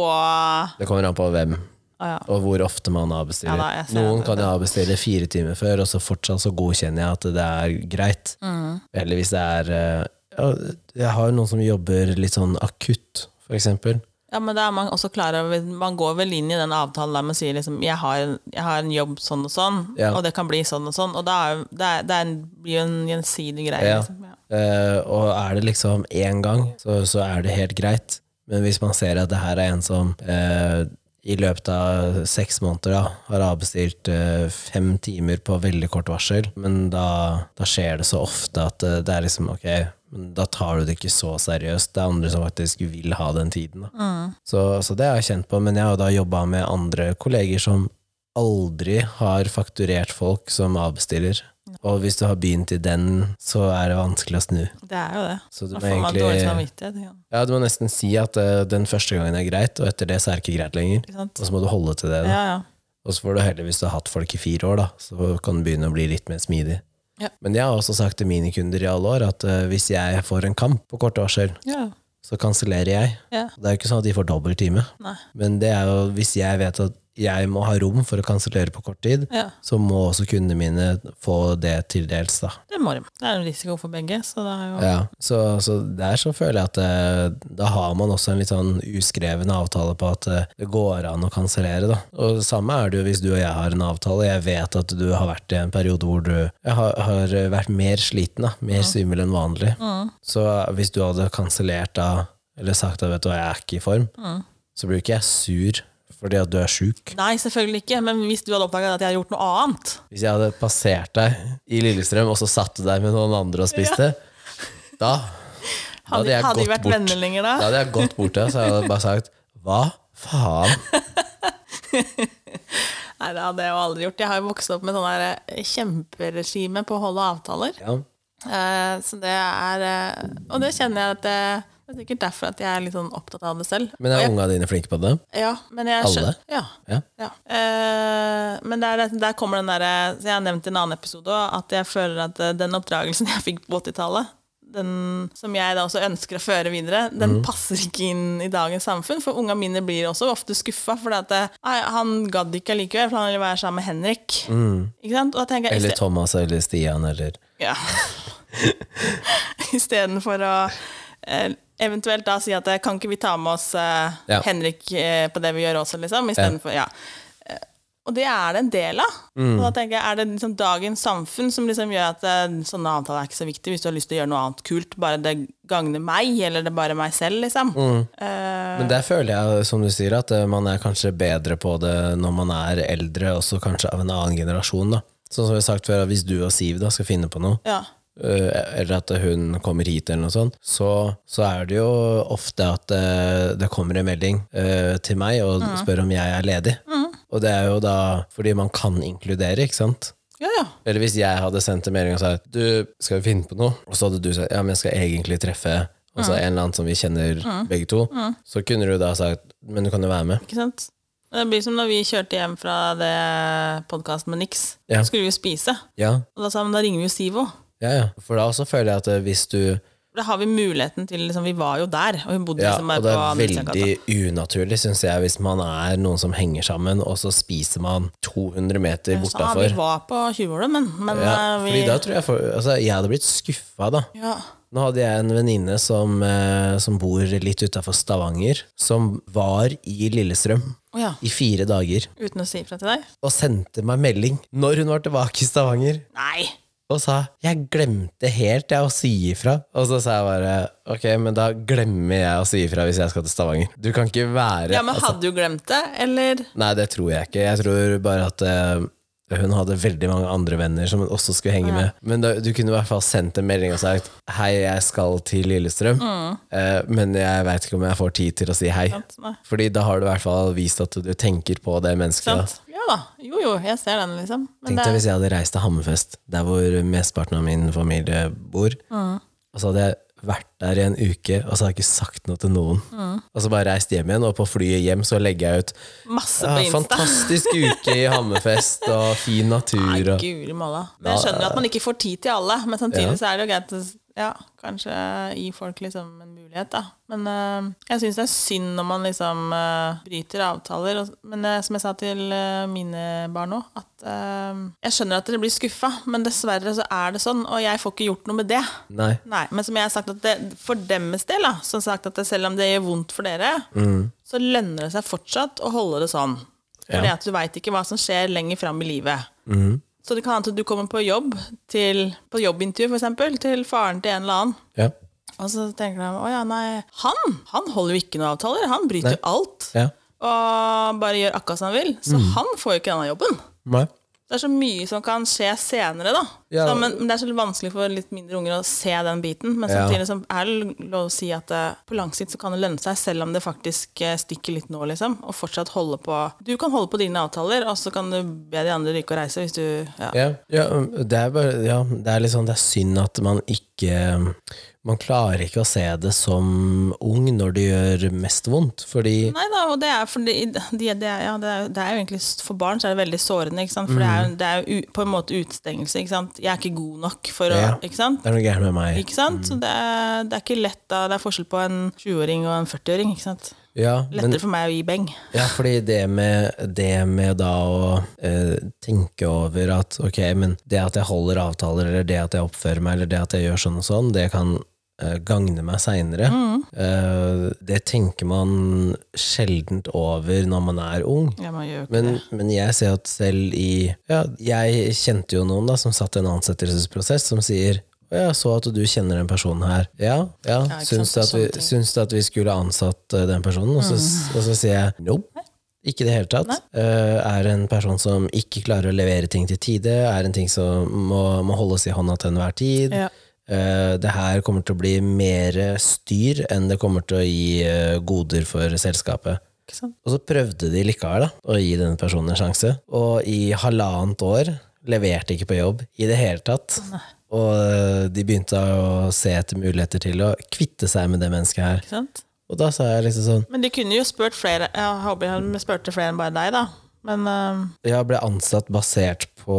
Speaker 1: Det kommer an på hvem
Speaker 2: Å ja.
Speaker 1: og hvor ofte man avbestiller.
Speaker 2: Ja da, jeg ser
Speaker 1: Noen
Speaker 2: det.
Speaker 1: kan jo avbestille fire timer før, og så fortsatt så godkjenner jeg at det er greit.
Speaker 2: Mm.
Speaker 1: Eller hvis det er eh, ja, Jeg har jo noen som jobber litt sånn akutt, for eksempel.
Speaker 2: Ja, men da er man også klar over Man går vel inn i den avtalen der man sier liksom jeg har, jeg har en jobb sånn og sånn,
Speaker 1: Ja.
Speaker 2: og det kan bli sånn og sånn, og da er, jo- det er, det er en, blir jo en gjensidig greie.
Speaker 1: Ja.
Speaker 2: Liksom. Ja.
Speaker 1: Eh, og er det liksom én gang, så, så er det helt greit. Men hvis man ser at det her er en som eh, i løpet av seks måneder da, har avbestilt eh, fem timer på veldig kort varsel, men da, da skjer det så ofte at eh, det er liksom ok, men da tar du det ikke så seriøst. Det er andre som faktisk vil ha den tiden. Da. Så, så det har jeg kjent på, men jeg har jo da jobba med andre kolleger som aldri har fakturert folk som avbestiller. Og hvis du har begynt i den, så er det vanskelig å snu.
Speaker 2: Det er jo det.
Speaker 1: Så du
Speaker 2: Da
Speaker 1: må
Speaker 2: får man dårlig
Speaker 1: egentlig
Speaker 2: samvittighet. ikke sant?
Speaker 1: Ja, du må nesten si at eh, den første gangen er greit, og etter det så er det ikke greit lenger.
Speaker 2: Ikke sant?
Speaker 1: Og så må du holde til det. Da.
Speaker 2: Ja, ja.
Speaker 1: Og så får du heller, hvis du har hatt folk i fire år, da, så kan du begynne å bli litt mer smidig.
Speaker 2: Ja.
Speaker 1: Men jeg har også sagt til mine kunder i alle år at eh, hvis jeg får en kamp på kort varsel,
Speaker 2: ja.
Speaker 1: så kansellerer jeg.
Speaker 2: Ja.
Speaker 1: Det er jo ikke sånn at de får dobbelt time,
Speaker 2: Nei.
Speaker 1: men det er jo hvis jeg vet at jeg må ha rom for å kansellere på kort tid,
Speaker 2: Ja.
Speaker 1: så må også kundene mine få det til dels, da.
Speaker 2: Det må de. Det er en risiko for begge, så det er jo
Speaker 1: Ja, så, så der så føler jeg at eh, da har man også en litt sånn uskreven avtale på at eh, det går an å kansellere, da. Og det samme er det jo hvis du og jeg har en avtale. Jeg vet at du har vært i en periode hvor du eh, har, har vært mer sliten, da. Mer svimmel enn vanlig. Så eh, hvis du hadde kansellert da, eller sagt at vet du hva, jeg er ikke i form, så blir ikke jeg sur fordi at du er sjuk.
Speaker 2: Nei, selvfølgelig ikke, men hvis du hadde oppdaga at jeg hadde gjort noe annet
Speaker 1: Hvis jeg hadde passert deg i Lillestrøm, og så satt du deg med noen andre og spiste, da da
Speaker 2: Hadde,
Speaker 1: jeg
Speaker 2: hadde vi
Speaker 1: gått
Speaker 2: vært
Speaker 1: bort.
Speaker 2: venner lenger da?
Speaker 1: Da hadde jeg gått bort til henne, så jeg hadde bare sagt Hva faen?
Speaker 2: Nei, det hadde jeg jo aldri gjort. Jeg har jo vokst opp med sånn der eh, kjemperegime på å holde avtaler.
Speaker 1: Ja.
Speaker 2: Eh, så det er eh, Og det kjenner jeg at det, det er sikkert derfor at jeg er litt sånn opptatt av det selv.
Speaker 1: Men
Speaker 2: Og
Speaker 1: er
Speaker 2: jeg,
Speaker 1: unga dine flinke på det?
Speaker 2: ja, men jeg
Speaker 1: Alle?
Speaker 2: skjønner- Ja.
Speaker 1: Ja.
Speaker 2: ja. Eh, men der, der kommer den derre Jeg har nevnt i en annen episode også, at jeg føler at eh, den oppdragelsen jeg fikk på 80-tallet, den som jeg da også ønsker å føre videre, den passer ikke inn i dagens samfunn. For unga mine blir også ofte skuffa, for eh, han gadd ikke allikevel, for han ville være sammen med Henrik. Ikke sant? Og da tenker jeg,
Speaker 1: Eller Thomas eller Stian eller
Speaker 2: ja. Istedenfor å eh, eventuelt da si at eh, kan ikke vi ta med oss eh,
Speaker 1: Ja.
Speaker 2: Henrik eh, på det vi gjør også, liksom? Istedenfor, ja. Eh, Og det er det en del av.
Speaker 1: Mm.
Speaker 2: Og da tenker jeg, Er det liksom dagens samfunn som liksom gjør at eh, sånne avtaler er ikke så viktig hvis du har lyst til å gjøre noe annet kult, bare det gagner meg, eller det er bare meg selv, liksom?
Speaker 1: Mm.
Speaker 2: Eh,
Speaker 1: Men der føler jeg, som du sier, at eh, man er kanskje bedre på det når man er eldre, også kanskje av en annen generasjon. da Sånn som vi har sagt før, at hvis du og Siv da skal finne på noe,
Speaker 2: ja.
Speaker 1: eh, eller at hun kommer hit, eller noe sånt, så, så er det jo ofte at eh, det kommer en melding eh, til meg og spør om jeg er ledig. Og det er jo da fordi man kan inkludere, ikke sant?
Speaker 2: ja, ja.
Speaker 1: Eller hvis jeg hadde sendt en melding og sagt Du, skal vi finne på noe? Og så hadde du sagt Ja, men jeg skal egentlig treffe Altså en eller annen som vi kjenner begge to Så kunne du da sagt Men du kan jo være med
Speaker 2: Ikke sant? Det blir som når vi kjørte hjem fra det podkasten med Nix.
Speaker 1: Ja.
Speaker 2: Så skulle vi jo spise.
Speaker 1: Ja,
Speaker 2: Og da sa han, da ringer vi jo Siv også.
Speaker 1: ja, ja For da også føler jeg at eh, hvis du
Speaker 2: Da har vi muligheten til liksom, Vi var jo der, og hun bodde
Speaker 1: Ja,
Speaker 2: liksom
Speaker 1: og
Speaker 2: der
Speaker 1: det
Speaker 2: på
Speaker 1: er
Speaker 2: Nilsengata.
Speaker 1: veldig unaturlig Synes jeg hvis man er noen som henger sammen Og så spiser man 200 meter
Speaker 2: Så, ah, vi
Speaker 1: bortafor
Speaker 2: var på Tjuvholmen, men
Speaker 1: ja,
Speaker 2: eh, vi
Speaker 1: fordi da tror jeg for, altså, Jeg hadde blitt skuffet da
Speaker 2: ja.
Speaker 1: Nå hadde jeg en venninne som, eh, som bor litt utenfor Stavanger Som var i Lillestrøm
Speaker 2: Å ja.
Speaker 1: i fire dager
Speaker 2: Uten å si ifra til deg?
Speaker 1: og sendte meg melding når hun var tilbake i Stavanger
Speaker 2: Nei!
Speaker 1: og sa 'jeg glemte helt jeg å si ifra'. Og så sa jeg bare 'ok, men da glemmer jeg å si ifra hvis jeg skal til Stavanger'. Du kan ikke være
Speaker 2: Ja, men
Speaker 1: altså,
Speaker 2: Hadde du glemt det, eller?
Speaker 1: Nei, det tror jeg ikke. Jeg tror bare at eh, hun hadde veldig mange andre venner som hun også skulle henge med. Men da, du kunne i hvert fall sendt en melding og sagt 'hei, jeg skal til Lillestrøm', eh, men jeg veit ikke om jeg får tid til å si hei.
Speaker 2: Mm. Sant? Nei.
Speaker 1: Fordi da har du i hvert fall vist at du tenker på det mennesket. da.
Speaker 2: Sant? Ja da. Jo jo, jeg ser den, liksom. Men
Speaker 1: Tenk deg
Speaker 2: det,
Speaker 1: hvis jeg hadde reist til Hammerfest, der hvor mesteparten av min familie bor.
Speaker 2: Mm.
Speaker 1: Og så hadde jeg vært der i en uke, og så hadde jeg ikke sagt noe til noen.
Speaker 2: Mm.
Speaker 1: Og så bare reist hjem igjen, og på flyet hjem så legger jeg ut
Speaker 2: masse
Speaker 1: ja,
Speaker 2: på Insta.
Speaker 1: 'Fantastisk uke i Hammerfest, og fin
Speaker 2: Nei,
Speaker 1: natur', og
Speaker 2: guri malla. Men jeg skjønner jo at man ikke får tid til alle, men samtidig så er det jo greit å ja, kanskje gi folk liksom en mulighet, da. Men øh, jeg syns det er synd når man liksom øh, bryter avtaler. Og, men øh, som jeg sa til øh, mine barn òg, at øh, jeg skjønner at dere blir skuffa, men dessverre så er det sånn, og jeg får ikke gjort noe med det.
Speaker 1: Nei.
Speaker 2: Nei, men som jeg har sagt at det, for deres del, da, som sagt at det, selv om det gjør vondt for dere, så lønner det seg fortsatt å holde det sånn. Fordi at du veit ikke hva som skjer lenger fram i livet. Så det kan hende at du kommer på jobb, til, på jobbintervju f.eks., til faren til en eller annen.
Speaker 1: Ja.
Speaker 2: Og så tenker de å ja, nei, han, han holder jo ikke noen avtaler. Han bryter jo alt.
Speaker 1: ja.
Speaker 2: Og bare gjør akkurat som han vil. Så han får jo ikke denne jobben.
Speaker 1: Nei.
Speaker 2: Det er så mye som kan skje senere, da.
Speaker 1: Ja.
Speaker 2: Så, men, men det er så vanskelig for litt mindre unger å se den biten. Men
Speaker 1: Ja.
Speaker 2: samtidig så er det lov å si at eh, på lang sikt så kan det lønne seg, selv om det faktisk eh, stikker litt nå, liksom. Og fortsatt holde på Du kan holde på dine avtaler, og så kan du be de andre ryke og reise hvis du Ja.
Speaker 1: Ja, ja, det er bare, ja, det er litt sånn, det er synd at man ikke Man klarer ikke å se det som ung når det gjør mest vondt, fordi
Speaker 2: Nei da, og det er fordi de, det, er, ja, det, er, jo- det er jo egentlig s- For barn så er det veldig sårende, ikke sant. For det
Speaker 1: Mm.
Speaker 2: er, jo- det er jo u, på en måte utestengelse, ikke sant. Jeg er ikke god nok for å
Speaker 1: Ja.
Speaker 2: Ikke sant.
Speaker 1: det er noe gærent med meg.
Speaker 2: Ikke sant? Så det er, det er ikke lett da. Det er forskjell på en 20-åring og en 40-åring. ikke sant?
Speaker 1: Ja, men,
Speaker 2: Lettere for meg å gi beng.
Speaker 1: ja, fordi det med, det med da å eh, tenke over at ok, men det at jeg holder avtaler, eller det at jeg oppfører meg, eller det at jeg gjør sånn og sånn, det kan eh, gagne meg seinere. det tenker man sjeldent over når man er ung.
Speaker 2: Ja, man gjør jo ikke
Speaker 1: Men,
Speaker 2: det.
Speaker 1: men jeg ser at selv i ja, Jeg kjente jo noen da som satt i en ansettelsesprosess, som sier «Å, jeg så at du kjenner den personen her. Ja, ja,
Speaker 2: Ja, ikke
Speaker 1: syns, du
Speaker 2: sant,
Speaker 1: at vi,
Speaker 2: sånne ting.
Speaker 1: syns du at vi skulle ansatt eh, den personen? Og så,
Speaker 2: Mm.
Speaker 1: og så sier jeg nope. Ikke i det hele tatt. Eh, er en person som ikke klarer å levere ting til tide. Er en ting som må, må holdes i hånda til enhver tid.
Speaker 2: Ja.
Speaker 1: Eh, det her kommer til å bli mer styr enn det kommer til å gi eh, goder for selskapet.
Speaker 2: Ikke sant?
Speaker 1: Og så prøvde de likevel da, å gi denne personen en sjanse. Og i halvannet år leverte ikke på jobb i det hele tatt. Og øh, de begynte å se etter muligheter til å kvitte seg med det mennesket her.
Speaker 2: Ikke sant?
Speaker 1: Og da sa jeg liksom sånn
Speaker 2: Men de kunne jo spurt flere. Jeg håper jeg spurte flere enn bare deg, da. Men ehm, øhm,
Speaker 1: Jeg ble ansatt basert på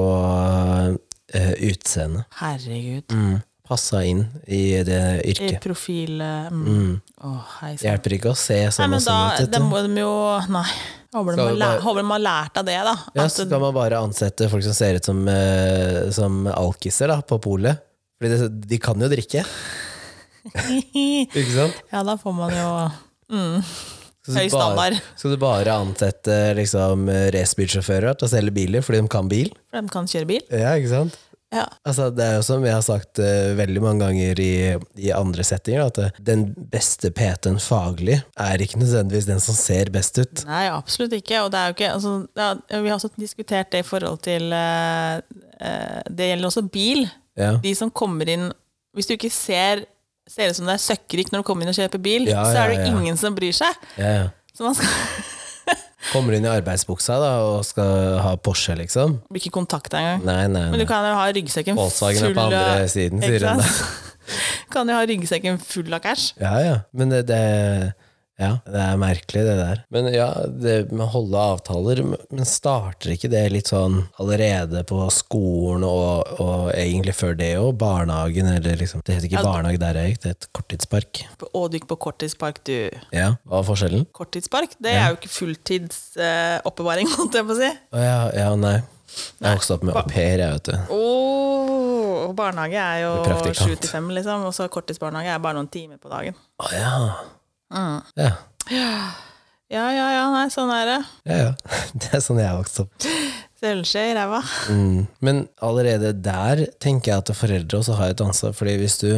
Speaker 1: øh, utseende.
Speaker 2: herregud.
Speaker 1: Mm. Passa inn i det
Speaker 2: I
Speaker 1: yrket.
Speaker 2: profil øh, mm. Å, hei
Speaker 1: Det
Speaker 2: sann.
Speaker 1: hjelper ikke å se
Speaker 2: Nei,
Speaker 1: sånn og
Speaker 2: men da
Speaker 1: sånn ut. vet
Speaker 2: det
Speaker 1: du.
Speaker 2: må de jo Nei. Jeg Håper de
Speaker 1: Skal
Speaker 2: har
Speaker 1: vi
Speaker 2: læ-
Speaker 1: bare-
Speaker 2: håper de har lært av det, da.
Speaker 1: Ja,
Speaker 2: At
Speaker 1: så kan man bare ansette folk som ser ut som, øh, som alkiser da, på polet. Fordi det, de kan jo drikke,
Speaker 2: det-
Speaker 1: ikke sant?
Speaker 2: ja, da får man jo
Speaker 1: Skal du
Speaker 2: Høy
Speaker 1: bare-
Speaker 2: standard.
Speaker 1: Skal du bare ansette liksom, racerbilsjåfører til å selge biler fordi de kan bil?
Speaker 2: For de kan kjøre bil.
Speaker 1: Ja, ikke sant?
Speaker 2: Ja.
Speaker 1: Altså, det er jo som jeg har sagt eh, veldig mange ganger i, i andre settinger, at eh, den beste PT-en faglig er ikke nødvendigvis den som ser best ut.
Speaker 2: Nei, absolutt ikke. Og det er jo ikke altså, det er, Vi har også diskutert det i forhold til eh, eh, Det gjelder også bil.
Speaker 1: Ja.
Speaker 2: De som kommer inn Hvis du ikke ser ser ut som det er søkkrik når du kommer inn og kjøper bil,
Speaker 1: Ja,
Speaker 2: så er det
Speaker 1: ja, ja.
Speaker 2: ingen som bryr seg.
Speaker 1: Ja, ja.
Speaker 2: Så man skal
Speaker 1: Kommer inn i arbeidsbuksa da, og skal ha Porsche, liksom?
Speaker 2: blir ikke kontakta engang.
Speaker 1: Nei, nei,
Speaker 2: Men
Speaker 1: nei.
Speaker 2: du kan jo ha ryggsekken
Speaker 1: Volkswagen er
Speaker 2: full
Speaker 1: på
Speaker 2: av
Speaker 1: andre siden, sier
Speaker 2: Ikke
Speaker 1: hun da.
Speaker 2: sant? Kan jo ha ryggsekken full av cash.
Speaker 1: Ja, ja. Men det, det ja, det er merkelig, det der. Men ja, det med å holde avtaler Men starter ikke det litt sånn allerede på skolen og, og egentlig før det òg? Barnehagen, eller liksom Det het ikke
Speaker 2: Ja, da-
Speaker 1: barnehage der jeg gikk, det het korttidspark.
Speaker 2: Og du gikk på korttidspark, du.
Speaker 1: Ja, Hva var forskjellen?
Speaker 2: Korttidspark, det er jo ikke fulltids eh, oppbevaring, holdt jeg på å si.
Speaker 1: Å ja, ja, nei. Jeg vokste opp med au pair, jeg, vet du.
Speaker 2: Åh, og barnehage er
Speaker 1: Det er
Speaker 2: jo
Speaker 1: praktikant.
Speaker 2: sju til fem, liksom. Og så korttidsbarnehage er bare noen timer på dagen.
Speaker 1: Å ja. Ja,
Speaker 2: Ja, ja, ja, nei, sånn er det.
Speaker 1: ja, ja. Det er sånn jeg vokste opp.
Speaker 2: Sølvskje i ræva.
Speaker 1: Mm. Men allerede der tenker jeg at foreldre også har et ansvar, fordi hvis du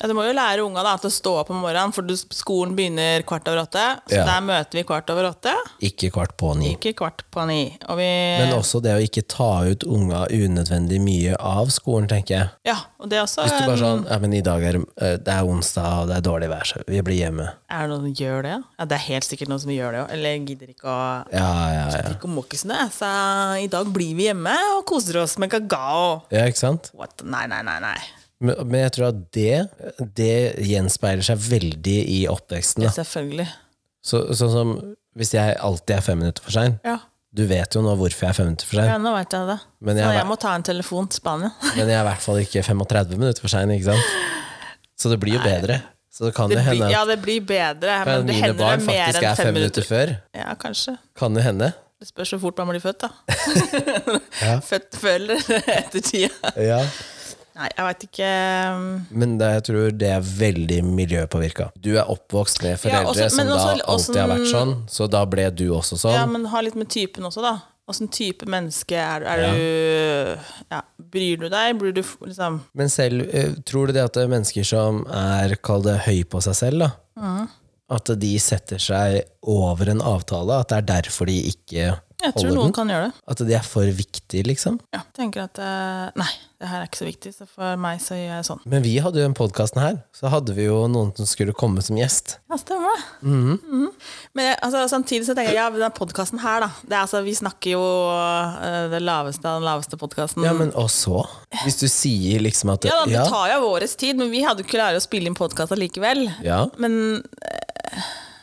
Speaker 2: Ja, du må jo lære unga da, til å stå opp om morgenen, for du, skolen begynner kvart over åtte. Så
Speaker 1: Ja.
Speaker 2: der møter vi kvart over åtte,
Speaker 1: ikke kvart på ni
Speaker 2: ikke kvart på ni. Og vi,
Speaker 1: Men også det å ikke ta ut unga unødvendig mye av skolen, tenker jeg.
Speaker 2: ja, og det er også
Speaker 1: Hvis du bare
Speaker 2: en-
Speaker 1: sånn, ja, men i dag er det- eh, det er onsdag, og det er dårlig vær, så vi blir hjemme.
Speaker 2: Er det noen som gjør det? Ja, det er helt sikkert noen som gjør det òg. Eller gidder ikke å
Speaker 1: Ja, ja, ja.
Speaker 2: Ikke må ikke snø, så i dag blir vi hjemme og koser oss med kakao.
Speaker 1: Ja, ikke sant?
Speaker 2: What? Nei, nei, nei, nei.
Speaker 1: Men, men jeg tror at det, det gjenspeiler seg veldig i oppveksten. Da.
Speaker 2: Selvfølgelig.
Speaker 1: Så, sånn som hvis jeg alltid er fem minutter for sein.
Speaker 2: Ja.
Speaker 1: Du vet jo nå hvorfor jeg er fem minutter for sein,
Speaker 2: Ja, nå veit jeg det.
Speaker 1: Men
Speaker 2: så
Speaker 1: jeg-
Speaker 2: jeg må ta en telefon til Spania.
Speaker 1: men jeg er i hvert fall ikke 35 minutter for sein, ikke sant? Så det blir jo bedre. Så det kan jo
Speaker 2: Det blir,
Speaker 1: hende
Speaker 2: ja,
Speaker 1: at
Speaker 2: det blir bedre.
Speaker 1: men
Speaker 2: Men det
Speaker 1: mine
Speaker 2: hender
Speaker 1: barn
Speaker 2: det mer
Speaker 1: faktisk
Speaker 2: enn
Speaker 1: er
Speaker 2: fem
Speaker 1: fem
Speaker 2: minutter.
Speaker 1: minutter før.
Speaker 2: Ja, kanskje.
Speaker 1: Kan jo hende.
Speaker 2: Det spørs hvor fort man blir født, da.
Speaker 1: Ja.
Speaker 2: Født før eller etter tida.
Speaker 1: Ja.
Speaker 2: Nei, jeg veit ikke um,
Speaker 1: Men det, jeg tror det er veldig miljøpåvirka. Du er oppvokst med
Speaker 2: Ja,
Speaker 1: foreldre
Speaker 2: også-
Speaker 1: som
Speaker 2: men
Speaker 1: da
Speaker 2: også- også-
Speaker 1: alltid har vært sånn, så da ble du også sånn.
Speaker 2: Ja, men ha litt med typen også, da. Åssen type menneske er du? Er du ja, bryr du deg? Blir du f- liksom
Speaker 1: men selv, eh, tror du det at det er mennesker som er, kall det, høy på seg selv, da? At de setter seg over en avtale, at det er derfor de ikke
Speaker 2: Jeg tror
Speaker 1: Holder
Speaker 2: noen
Speaker 1: den?
Speaker 2: kan gjøre det.
Speaker 1: At de er for viktige, liksom.
Speaker 2: Ja. Tenker at eh, nei, det her er ikke så viktig, så for meg så gjør jeg sånn.
Speaker 1: Men vi hadde jo den podkasten her, så hadde vi jo noen som skulle komme som gjest.
Speaker 2: Ja, stemmer det. Mhm. Men jeg- altså, samtidig så tenker jeg ja, den podkasten her, da. Det er, altså, vi snakker jo eh, det laveste av den laveste podkasten.
Speaker 1: Ja, men og så? Hvis du sier liksom at
Speaker 2: Mm. Ja, da,
Speaker 1: ja,
Speaker 2: det tar jo av vår tid, men vi hadde jo ikke klart å spille inn podkast allikevel.
Speaker 1: ja,
Speaker 2: Men eh,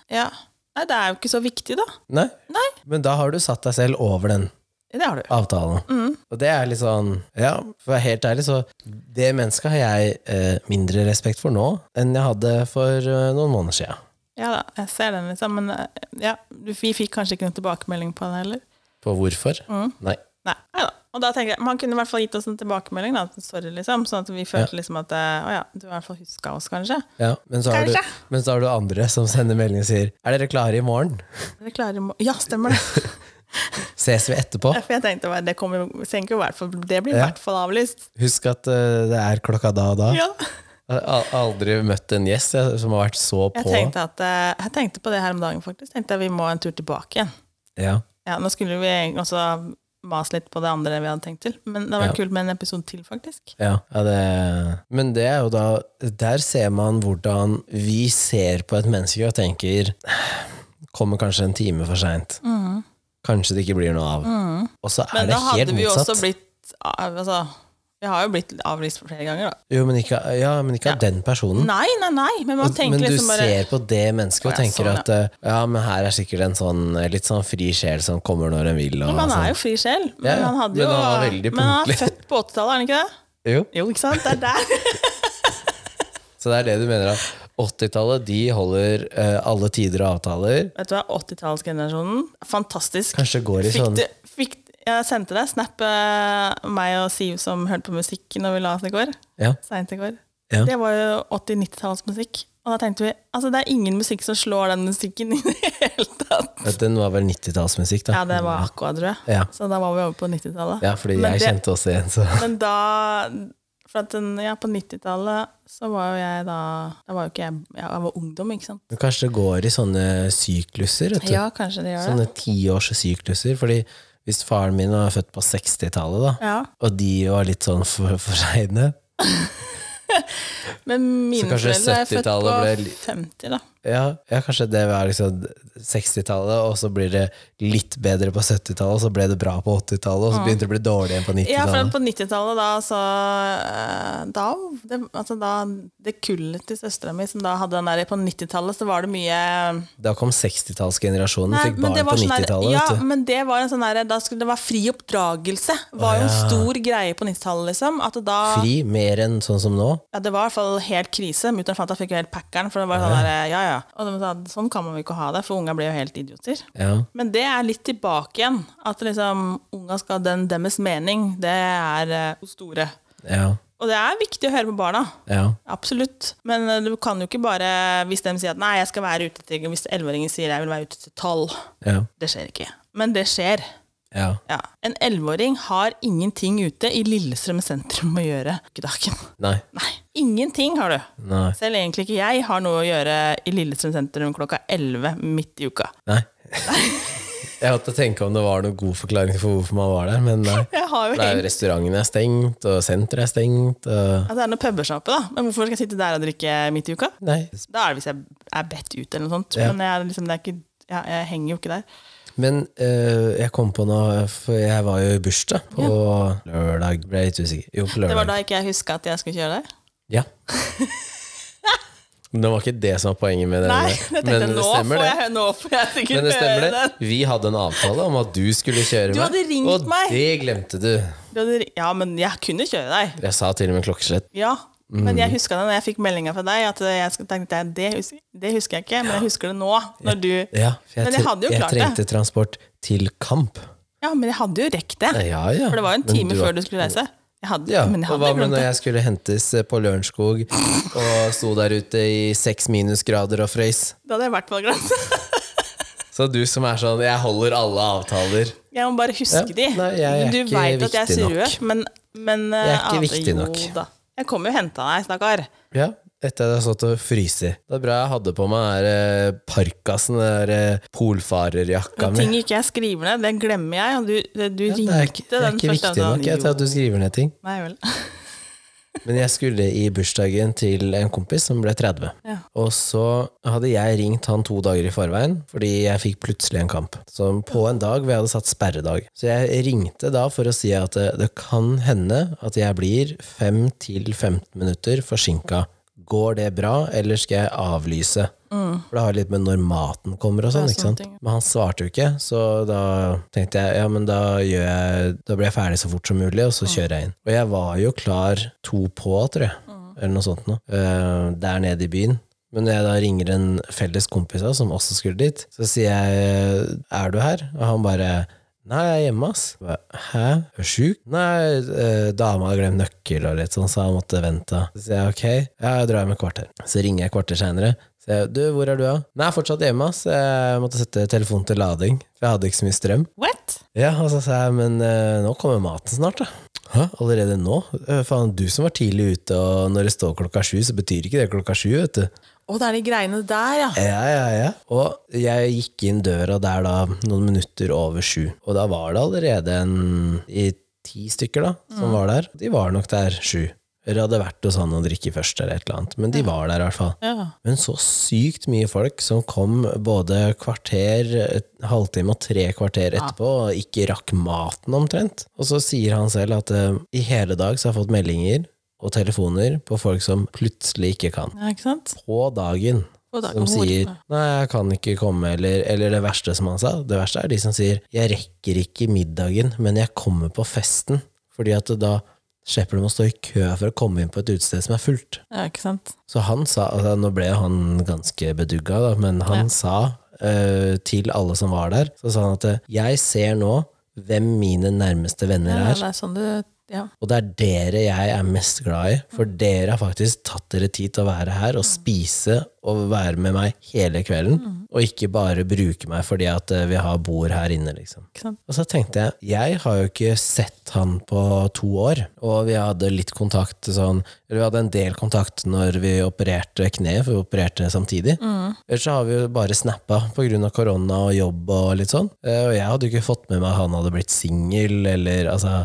Speaker 2: ja. Nei, det er jo ikke så viktig, da.
Speaker 1: nei.
Speaker 2: Nei.
Speaker 1: Men da har du satt deg selv over den
Speaker 2: Det har du.
Speaker 1: avtalen.
Speaker 2: Mm.
Speaker 1: Og det er litt sånn Ja, for å være helt ærlig, så det mennesket har jeg eh, mindre respekt for nå enn jeg hadde for eh, noen måneder siden.
Speaker 2: Ja da, jeg ser den, liksom. Men eh, ja, du- vi fikk kanskje ikke noen tilbakemelding på den heller.
Speaker 1: På hvorfor?
Speaker 2: Mm.
Speaker 1: Nei.
Speaker 2: Nei, nei da. Og da tenker jeg, Man kunne i hvert fall gitt oss en tilbakemelding, da. at Sorry, liksom. Sånn at vi følte liksom at eh, Å ja, du har i hvert fall huska oss, kanskje.
Speaker 1: Ja, men, så har du,
Speaker 2: Kanskje.
Speaker 1: men så har du andre som sender melding og sier Er dere klare i morgen?
Speaker 2: Dere klarer i morgen Ja, stemmer det.
Speaker 1: Ses vi etterpå?
Speaker 2: For jeg tenkte bare, det, kommer, jo- tenker jo i hvert fall, det blir i
Speaker 1: Ja.
Speaker 2: hvert fall avlyst.
Speaker 1: Husk at eh, det er klokka da og da.
Speaker 2: Ja.
Speaker 1: Jeg har aldri møtt en gjest jeg, som har vært så
Speaker 2: Jeg
Speaker 1: på.
Speaker 2: tenkte, at, eh, jeg tenkte på det her om dagen, faktisk. Tenkte jeg Vi må en tur tilbake igjen.
Speaker 1: Ja.
Speaker 2: Ja, Nå skulle vi egentlig også mase litt på det andre vi hadde tenkt til, men det var
Speaker 1: Ja.
Speaker 2: kult med en episode til, faktisk.
Speaker 1: Ja, ja det, men det er jo da Der ser man hvordan vi ser på et menneske og tenker Kommer kanskje en time for seint. Kanskje det ikke blir noe av. Og så er
Speaker 2: Mm. Men
Speaker 1: det
Speaker 2: da hadde
Speaker 1: helt
Speaker 2: vi jo også
Speaker 1: motsatt.
Speaker 2: blitt av- altså, Vi har jo blitt avlyst flere ganger, da.
Speaker 1: Jo, men ikke, ja, men ikke av den personen.
Speaker 2: Nei, nei, nei, men man tenker
Speaker 1: Men du
Speaker 2: liksom bare
Speaker 1: ser på det mennesket og
Speaker 2: Å, ja,
Speaker 1: tenker
Speaker 2: sånn,
Speaker 1: at eh, ja, men her er sikkert en sånn eh, litt sånn fri sjel som kommer når en vil. Og,
Speaker 2: Man er
Speaker 1: sånn.
Speaker 2: jo fri sjel, men
Speaker 1: Ja, ja,
Speaker 2: han hadde
Speaker 1: men
Speaker 2: jo
Speaker 1: han var veldig
Speaker 2: Men han
Speaker 1: punktlig.
Speaker 2: er født på 80-tallet, er han ikke det?
Speaker 1: jo.
Speaker 2: Jo, ikke sant? Det er der.
Speaker 1: Så det er det du mener at 80-tallet de holder eh, alle tider og avtaler.
Speaker 2: Vet du hva, 80-tallsgenerasjonen. Fantastisk.
Speaker 1: Kanskje går i
Speaker 2: Fikk
Speaker 1: sånn
Speaker 2: du, fikk, jeg sendte deg snap eh, meg og Siv som hørte på musikk når vi la oss i går.
Speaker 1: Ja.
Speaker 2: Seint i går.
Speaker 1: Ja.
Speaker 2: Det var jo 80-90-tallsmusikk. Og da tenkte vi altså det er ingen musikk som slår den musikken i det hele tatt.
Speaker 1: At Den var vel 90-tallsmusikk, da.
Speaker 2: Ja, det var Aqua, tror jeg.
Speaker 1: Ja.
Speaker 2: Så da var vi over på 90-tallet.
Speaker 1: Ja, fordi
Speaker 2: Men
Speaker 1: jeg
Speaker 2: det-
Speaker 1: kjente også en, så
Speaker 2: Men da For at den, ja, på 90-tallet så var jo jeg da Da var jo ikke jeg Jeg var ungdom, ikke sant?
Speaker 1: Men Kanskje det går i sånne sykluser, vet du.
Speaker 2: Ja, kanskje det gjør det.
Speaker 1: Sånne tiårssykluser. Fordi hvis faren min var født på 60-tallet, da,
Speaker 2: Ja.
Speaker 1: og de var litt sånn for, for seine
Speaker 2: Men
Speaker 1: Så
Speaker 2: mine
Speaker 1: kanskje
Speaker 2: foreldre er født
Speaker 1: 70-tallet
Speaker 2: på
Speaker 1: ble li-
Speaker 2: 50, da.
Speaker 1: ja, ja, kanskje det var liksom 60-tallet, og så blir det litt bedre på 70-tallet, og så ble det bra på 80-tallet, og så begynte det å bli dårlig igjen på
Speaker 2: Ja, for
Speaker 1: 90-tallet.
Speaker 2: på 90-tallet da, så eh, da, det, altså da Det kullet til søstera mi som da hadde den der På 90-tallet så var det mye
Speaker 1: Da kom 60-tallsgenerasjonen,
Speaker 2: Nei,
Speaker 1: fikk
Speaker 2: men
Speaker 1: barn
Speaker 2: det
Speaker 1: på
Speaker 2: var sånn der-
Speaker 1: 90-tallet,
Speaker 2: Ja,
Speaker 1: vet du.
Speaker 2: men det var en sånn der Da skulle det være fri oppdragelse. Var jo en
Speaker 1: ja.
Speaker 2: stor greie på 90-tallet, liksom. At da
Speaker 1: Fri, mer enn sånn som nå.
Speaker 2: Ja, det var i hvert fall helt krise. Mutter'n fant jeg fikk jo helt packeren, for det var sånn der Ja, ja. Og de sa sånn kan man jo ikke ha det, for unga blir jo helt idioter.
Speaker 1: Ja.
Speaker 2: Men det er litt tilbake igjen. At liksom unga skal ha den deres mening. Det er eh, hvor store.
Speaker 1: Ja.
Speaker 2: Og det er viktig å høre på barna.
Speaker 1: Ja.
Speaker 2: Absolutt. Men eh, du kan jo ikke bare, hvis de sier at nei, jeg skal være ute til Hvis 11-åringen sier jeg vil være ute til 12,
Speaker 1: Ja.
Speaker 2: det skjer ikke. Men det skjer.
Speaker 1: ja.
Speaker 2: Ja. En 11-åring har ingenting ute i Lillestrøm sentrum å gjøre i dagen.
Speaker 1: Nei.
Speaker 2: Nei. Ingenting har du.
Speaker 1: Nei.
Speaker 2: Selv egentlig ikke jeg har noe å gjøre i Lillestrøm sentrum klokka 11 midt i uka.
Speaker 1: Nei. Jeg måtte tenke om det var noen god forklaring for hvorfor man var der, men nei.
Speaker 2: Jeg har jo
Speaker 1: Det er
Speaker 2: helt
Speaker 1: jo Restauranten er stengt, og senteret er stengt, og
Speaker 2: Altså, det er noe pubersjappe, da. Men hvorfor skal jeg sitte der og drikke midt i uka?
Speaker 1: Nei.
Speaker 2: Da er det hvis jeg er bedt ut eller noe sånt.
Speaker 1: Ja.
Speaker 2: Men jeg, er liksom, det er ikke, jeg, jeg henger jo ikke der.
Speaker 1: Men eh, jeg kom på noe, for jeg var jo i bursdag på lørdag, ble jeg litt usikker. Jo, på
Speaker 2: Det var
Speaker 1: lørdag.
Speaker 2: da ikke jeg huska at jeg skulle kjøre der.
Speaker 1: Ja. Men det var ikke det som var poenget med det.
Speaker 2: Nei,
Speaker 1: men
Speaker 2: jeg tenkte nå får
Speaker 1: det.
Speaker 2: jeg, nå får jeg sikkert
Speaker 1: Men det stemmer
Speaker 2: høre
Speaker 1: det.
Speaker 2: den.
Speaker 1: Vi hadde en avtale om at du skulle kjøre
Speaker 2: Du hadde ringt
Speaker 1: og
Speaker 2: meg.
Speaker 1: det glemte du.
Speaker 2: Du hadde ri- Ja, men jeg kunne kjøre deg.
Speaker 1: Jeg sa til og med klokkeslett.
Speaker 2: Ja. Men
Speaker 1: Mm.
Speaker 2: jeg huska det når jeg fikk meldinga fra deg. At jeg skulle- tenkte, jeg, det, husker, det husker jeg ikke, men jeg husker det nå. Når du,
Speaker 1: Ja, for jeg,
Speaker 2: Men jeg
Speaker 1: tre-
Speaker 2: hadde jo
Speaker 1: jeg
Speaker 2: klart det.
Speaker 1: trengte transport til kamp.
Speaker 2: ja, men jeg hadde jo rekt det.
Speaker 1: Ja, ja.
Speaker 2: For det var jo en
Speaker 1: Men
Speaker 2: time
Speaker 1: du var-
Speaker 2: før du skulle reise. Jeg hadde,
Speaker 1: Ja,
Speaker 2: men jeg
Speaker 1: og
Speaker 2: hadde
Speaker 1: hva med
Speaker 2: glemt
Speaker 1: når
Speaker 2: det.
Speaker 1: jeg skulle hentes eh, på Lørenskog og sto der ute i seks minusgrader og frøys?
Speaker 2: Da hadde jeg i hvert fall glemt det.
Speaker 1: Så du som er sånn 'jeg holder alle avtaler'.
Speaker 2: Jeg må bare huske
Speaker 1: Ja,
Speaker 2: de.
Speaker 1: nei, jeg er
Speaker 2: du
Speaker 1: ikke
Speaker 2: vet at jeg er
Speaker 1: viktig nok.
Speaker 2: seriøs, men, men
Speaker 1: Jeg er ikke
Speaker 2: eh,
Speaker 1: viktig
Speaker 2: jo
Speaker 1: nok.
Speaker 2: Da. Jeg kommer jo og henta deg, stakkar.
Speaker 1: Ja, Etter at jeg har stått og fryst. Det er bra jeg hadde på meg her eh, parkasen, den der eh, polfarerjakka
Speaker 2: Når
Speaker 1: mi.
Speaker 2: ting ikke jeg skriver ned, det glemmer jeg. og Du, det- du
Speaker 1: Ja, det er ikke,
Speaker 2: ringte
Speaker 1: det er
Speaker 2: den
Speaker 1: ikke
Speaker 2: første
Speaker 1: viktig nok jeg, til at du skriver ned ting.
Speaker 2: Nei vel.
Speaker 1: Men jeg skulle i bursdagen til en kompis som ble 30.
Speaker 2: Ja.
Speaker 1: Og så hadde jeg ringt han to dager i forveien, fordi jeg fikk plutselig en kamp. Så på en dag hvor jeg hadde satt sperredag. Så jeg ringte da for å si at det, det kan hende at jeg blir 5-15 minutter forsinka. Går det bra, eller skal jeg avlyse? For det har litt med når maten kommer og sånn.
Speaker 2: Mm. Ja,
Speaker 1: ikke
Speaker 2: sånne
Speaker 1: sant?
Speaker 2: ting, ja.
Speaker 1: Men han svarte jo ikke, så da tenkte jeg ja, men da, gjør jeg, da blir jeg ferdig så fort som mulig, og så kjører jeg inn. Og jeg var jo klar to på, tror jeg, eller noe sånt nå, eh, der nede i byen. Men når jeg da ringer en felles kompis av, som også skulle dit, så sier jeg er du her? Og han bare Nei, jeg er hjemme, ass. Jeg bare, Hæ? Er du sjuk? Nei, eh, dama hadde glemt nøkkel og litt sånn, så han måtte vente. Så sier jeg ok, ja, jeg drar hjem et kvarter. Så ringer jeg et kvarter seinere. Så jeg, du, hvor er du, da? Nei, jeg er fortsatt hjemme, ass. Jeg måtte sette telefonen til lading, for jeg hadde ikke så mye strøm.
Speaker 2: What?
Speaker 1: Ja, og så sa jeg, men eh, nå kommer maten snart, da. Hæ, allerede nå? Eh, faen, du som var tidlig ute, og når det står klokka sju, så betyr ikke det klokka sju, vet du.
Speaker 2: Å, det er de greiene der, ja.
Speaker 1: Ja, ja, ja. Og jeg gikk inn døra der da noen minutter over sju, og da var det allerede en i ti stykker da, som var der. De var nok der sju. Eller hadde vært hos han og drikke først eller et eller annet, men de var der i hvert fall.
Speaker 2: ja.
Speaker 1: Men så sykt mye folk som kom både kvarter, et halvtime og tre kvarter etterpå og ikke rakk maten omtrent. Og så sier han selv at eh, i hele dag så har jeg fått meldinger og telefoner på folk som plutselig ikke kan.
Speaker 2: ja ikke sant?
Speaker 1: På dagen.
Speaker 2: På
Speaker 1: Som
Speaker 2: dagen, hvor-
Speaker 1: sier 'nei, jeg kan ikke komme', eller, eller det verste som han sa. Det verste er de som sier 'jeg rekker ikke middagen, men jeg kommer på festen'. Fordi at da slipper de å stå i kø for å komme inn på et utested som er fullt.
Speaker 2: Ja, ikke sant?
Speaker 1: Så han sa, altså, nå ble han ganske bedugga, da, men han sa eh, til alle som var der, så sa han at eh, jeg ser nå hvem mine nærmeste venner
Speaker 2: Ja,
Speaker 1: er,
Speaker 2: det er sånn du Ja.
Speaker 1: og det er dere jeg er mest glad i, for dere har faktisk tatt dere tid til å være her og spise og være med meg hele kvelden, og ikke bare bruke meg fordi at eh, vi har bord her inne, liksom.
Speaker 2: Ikke sant?
Speaker 1: Og så tenkte jeg, jeg har jo ikke sett han på to år, og vi hadde litt kontakt sånn, eller vi hadde en del kontakt når vi opererte kneet, for vi opererte samtidig. Ellers så har vi jo bare snappa på grunn av korona og jobb og litt sånn. Eh, Og jeg hadde jo ikke fått med meg at han hadde blitt singel, eller altså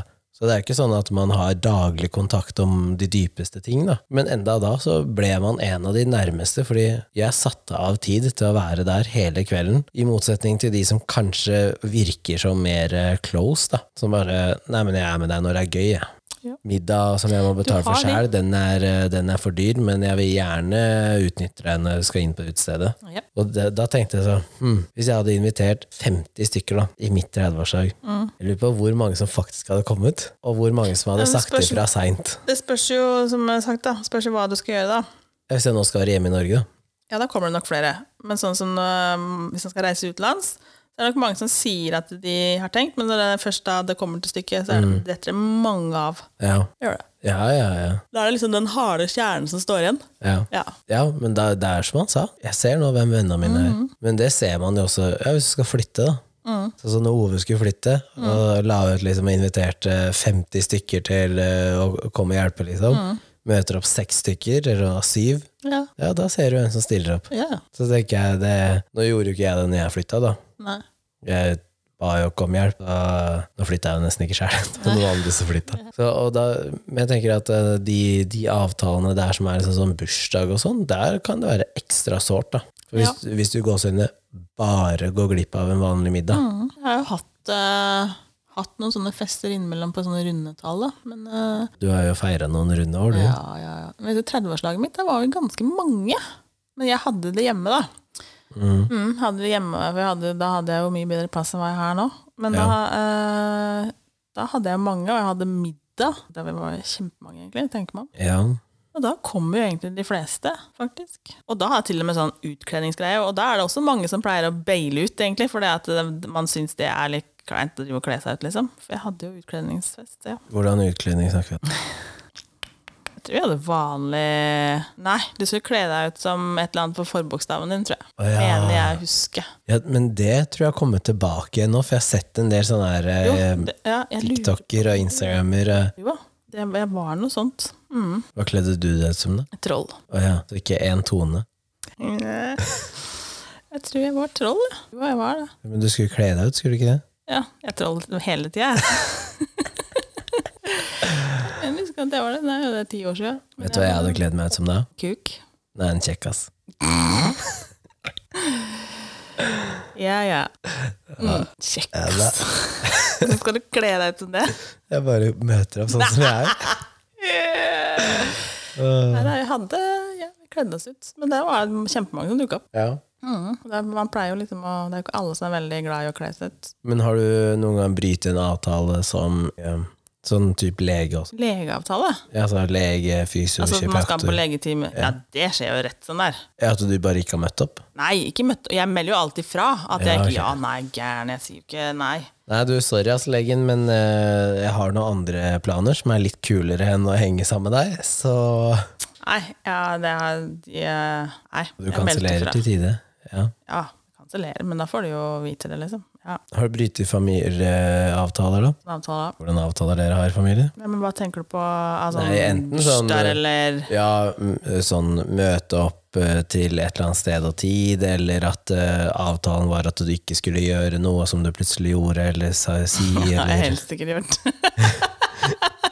Speaker 1: så det er ikke sånn at man har daglig kontakt om de dypeste ting, da. Men enda da så ble man en av de nærmeste, fordi jeg satte av tid til å være der hele kvelden, i motsetning til de som kanskje virker som mer eh, close, da. Som bare Nei, men jeg er med deg når det er gøy, jeg.
Speaker 2: Ja.
Speaker 1: Middag som jeg må betale for
Speaker 2: har
Speaker 1: sjæl, den, er, eh, den er for dyr, men jeg vil gjerne utnytte deg når du skal inn på utestedet.
Speaker 2: Ja.
Speaker 1: Og det, da tenkte jeg sånn hm, Hvis jeg hadde invitert 50 stykker da i mitt 30-årsdag,
Speaker 2: Mm.
Speaker 1: jeg lurer på hvor mange som faktisk hadde kommet, og hvor mange som hadde
Speaker 2: Ja, men
Speaker 1: sagt
Speaker 2: spørs-
Speaker 1: ifra seint.
Speaker 2: Det spørs jo, som jeg har sagt, da, spørs jo hva du skal gjøre, da.
Speaker 1: Hvis jeg nå skal være hjemme i Norge, da.
Speaker 2: Ja, da kommer det nok flere. Men sånn som øhm, hvis man skal reise utenlands, så er det nok mange som sier at de har tenkt, men når det er først da det kommer til stykket, så er
Speaker 1: Mm.
Speaker 2: det detter det mange av.
Speaker 1: Ja,
Speaker 2: Gjør det.
Speaker 1: ja, ja. ja.
Speaker 2: Da er det liksom den harde kjernen som står igjen.
Speaker 1: ja.
Speaker 2: Ja.
Speaker 1: Ja, men det, det er som han sa. Jeg ser nå hvem vennene mine er.
Speaker 2: Mm.
Speaker 1: Men det ser man jo også ja, hvis du skal flytte, da. Sånn som når Ove skulle flytte,
Speaker 2: Mm.
Speaker 1: og la ut liksom inviterte 50 stykker til eh, å komme og hjelpe, liksom.
Speaker 2: Mm.
Speaker 1: Møter opp seks stykker, eller syv.
Speaker 2: Ja.
Speaker 1: Ja, da ser du hvem som stiller opp.
Speaker 2: ja.
Speaker 1: Så tenker jeg det Nå gjorde jo ikke jeg det når jeg flytta, da.
Speaker 2: Nei.
Speaker 1: Jeg ba jo ikke om hjelp. Da, nå flytta jeg jo nesten ikke sjøl. Det var noen andre som flytta. Så, og da, men jeg tenker at eh, de, de avtalene der som er liksom sånn bursdag og sånn, der kan det være ekstra sårt, da. For hvis, hvis du i gåsehudene bare går glipp av en vanlig middag.
Speaker 2: Mhm. Jeg har jo hatt, øh, hatt noen sånne fester innimellom på sånne rundetall, da. Men øh,
Speaker 1: Du har jo feira noen runde år, du.
Speaker 2: ja, ja, ja. Men vet du, 30-årslaget mitt, der var jo ganske mange. Men jeg hadde det hjemme, da.
Speaker 1: Mm.
Speaker 2: Mm, hadde det hjemme, for jeg hadde, Da hadde jeg jo mye bedre plass enn hva jeg har nå. Men da, eh, da hadde jeg mange, og jeg hadde middag. Da vi var kjempemange, egentlig. tenker man.
Speaker 1: Ja.
Speaker 2: Og da kommer jo egentlig de fleste, faktisk. Og da har jeg til og med sånn utkledningsgreie, og da er det også mange som pleier å baile ut, egentlig, fordi at det- man syns det er litt kleint å drive og kle seg ut, liksom. For jeg hadde jo utkledningsfest, ja.
Speaker 1: Hvordan utkledning snakker vi om?
Speaker 2: Jeg tror jeg hadde vanlig Nei, du skulle kle deg ut som et eller annet på forbokstaven din, tror jeg.
Speaker 1: Å, ja.
Speaker 2: Mener jeg husker.
Speaker 1: Ja, men det tror jeg har kommet tilbake igjen nå, for jeg har sett en del sånne her,
Speaker 2: Jo,
Speaker 1: eh,
Speaker 2: det, ja, jeg lurer
Speaker 1: TikToker og Instagrammer. eh,
Speaker 2: Jo da, det, jeg var noe sånt.
Speaker 1: Hva kledde du deg ut som, da?
Speaker 2: Et troll.
Speaker 1: Å ja, så ikke én tone.
Speaker 2: Jeg tror jeg var troll. ja. Hva jeg var det?
Speaker 1: Men du skulle kle deg ut, skulle du ikke det?
Speaker 2: Ja, jeg trollet dem hele tida. jeg husker at jeg var det. Nei, det er ti år siden.
Speaker 1: Vet du hva jeg hadde kledd meg ut som da?
Speaker 2: Kuk.
Speaker 1: Nei, en kjekkas.
Speaker 2: Ja, ja. Mm, Kjekk,
Speaker 1: Ja, da.
Speaker 2: ass. Hvordan skal du kle deg ut som det?
Speaker 1: Jeg bare møter opp sånn som jeg er. Øh,
Speaker 2: Nei, nei, jeg hadde ja, vi kledde oss ut. Men det var kjempemange som dukka opp.
Speaker 1: Ja.
Speaker 2: Mm. Det er- Man pleier jo liksom å, Det er jo ikke alle som er veldig glad i å kle seg ut.
Speaker 1: Men har du noen gang brytet en avtale som eh, sånn type lege også?
Speaker 2: Legeavtale?
Speaker 1: Ja, Altså lege,
Speaker 2: Altså at man skal på
Speaker 1: fysioterapeuter?
Speaker 2: legetime. Ja, det skjer jo rett sånn der.
Speaker 1: Ja, at du bare ikke har møtt opp?
Speaker 2: Nei, ikke møtt Jeg melder jo alltid fra at jeg
Speaker 1: Ja,
Speaker 2: ikke
Speaker 1: ok.
Speaker 2: Ja, nei, gæren. Jeg sier jo ikke nei.
Speaker 1: Nei, du, sorry ass, legen, men eh, jeg har noen andre planer som er litt kulere enn å henge sammen med deg, så
Speaker 2: Nei, ja, det er jeg, Nei,
Speaker 1: Du
Speaker 2: jeg meldte
Speaker 1: kansellerer
Speaker 2: fra.
Speaker 1: til tide. Ja.
Speaker 2: Ja, kansellerer, men da får du jo vite det, liksom. Ja,
Speaker 1: Har du brytet familieavtaler, da?
Speaker 2: en avtale.
Speaker 1: Hvordan avtaler dere har i familien?
Speaker 2: Nei, men hva tenker du på? Altså,
Speaker 1: Nei, enten sånn-
Speaker 2: bursdager eller
Speaker 1: Ja, m- sånn møte opp eh, til et eller annet sted og tid, eller at eh, avtalen var at du ikke skulle gjøre noe som du plutselig gjorde, eller sa, si,
Speaker 2: Nei, jeg har
Speaker 1: eller
Speaker 2: helst sikkert gjort.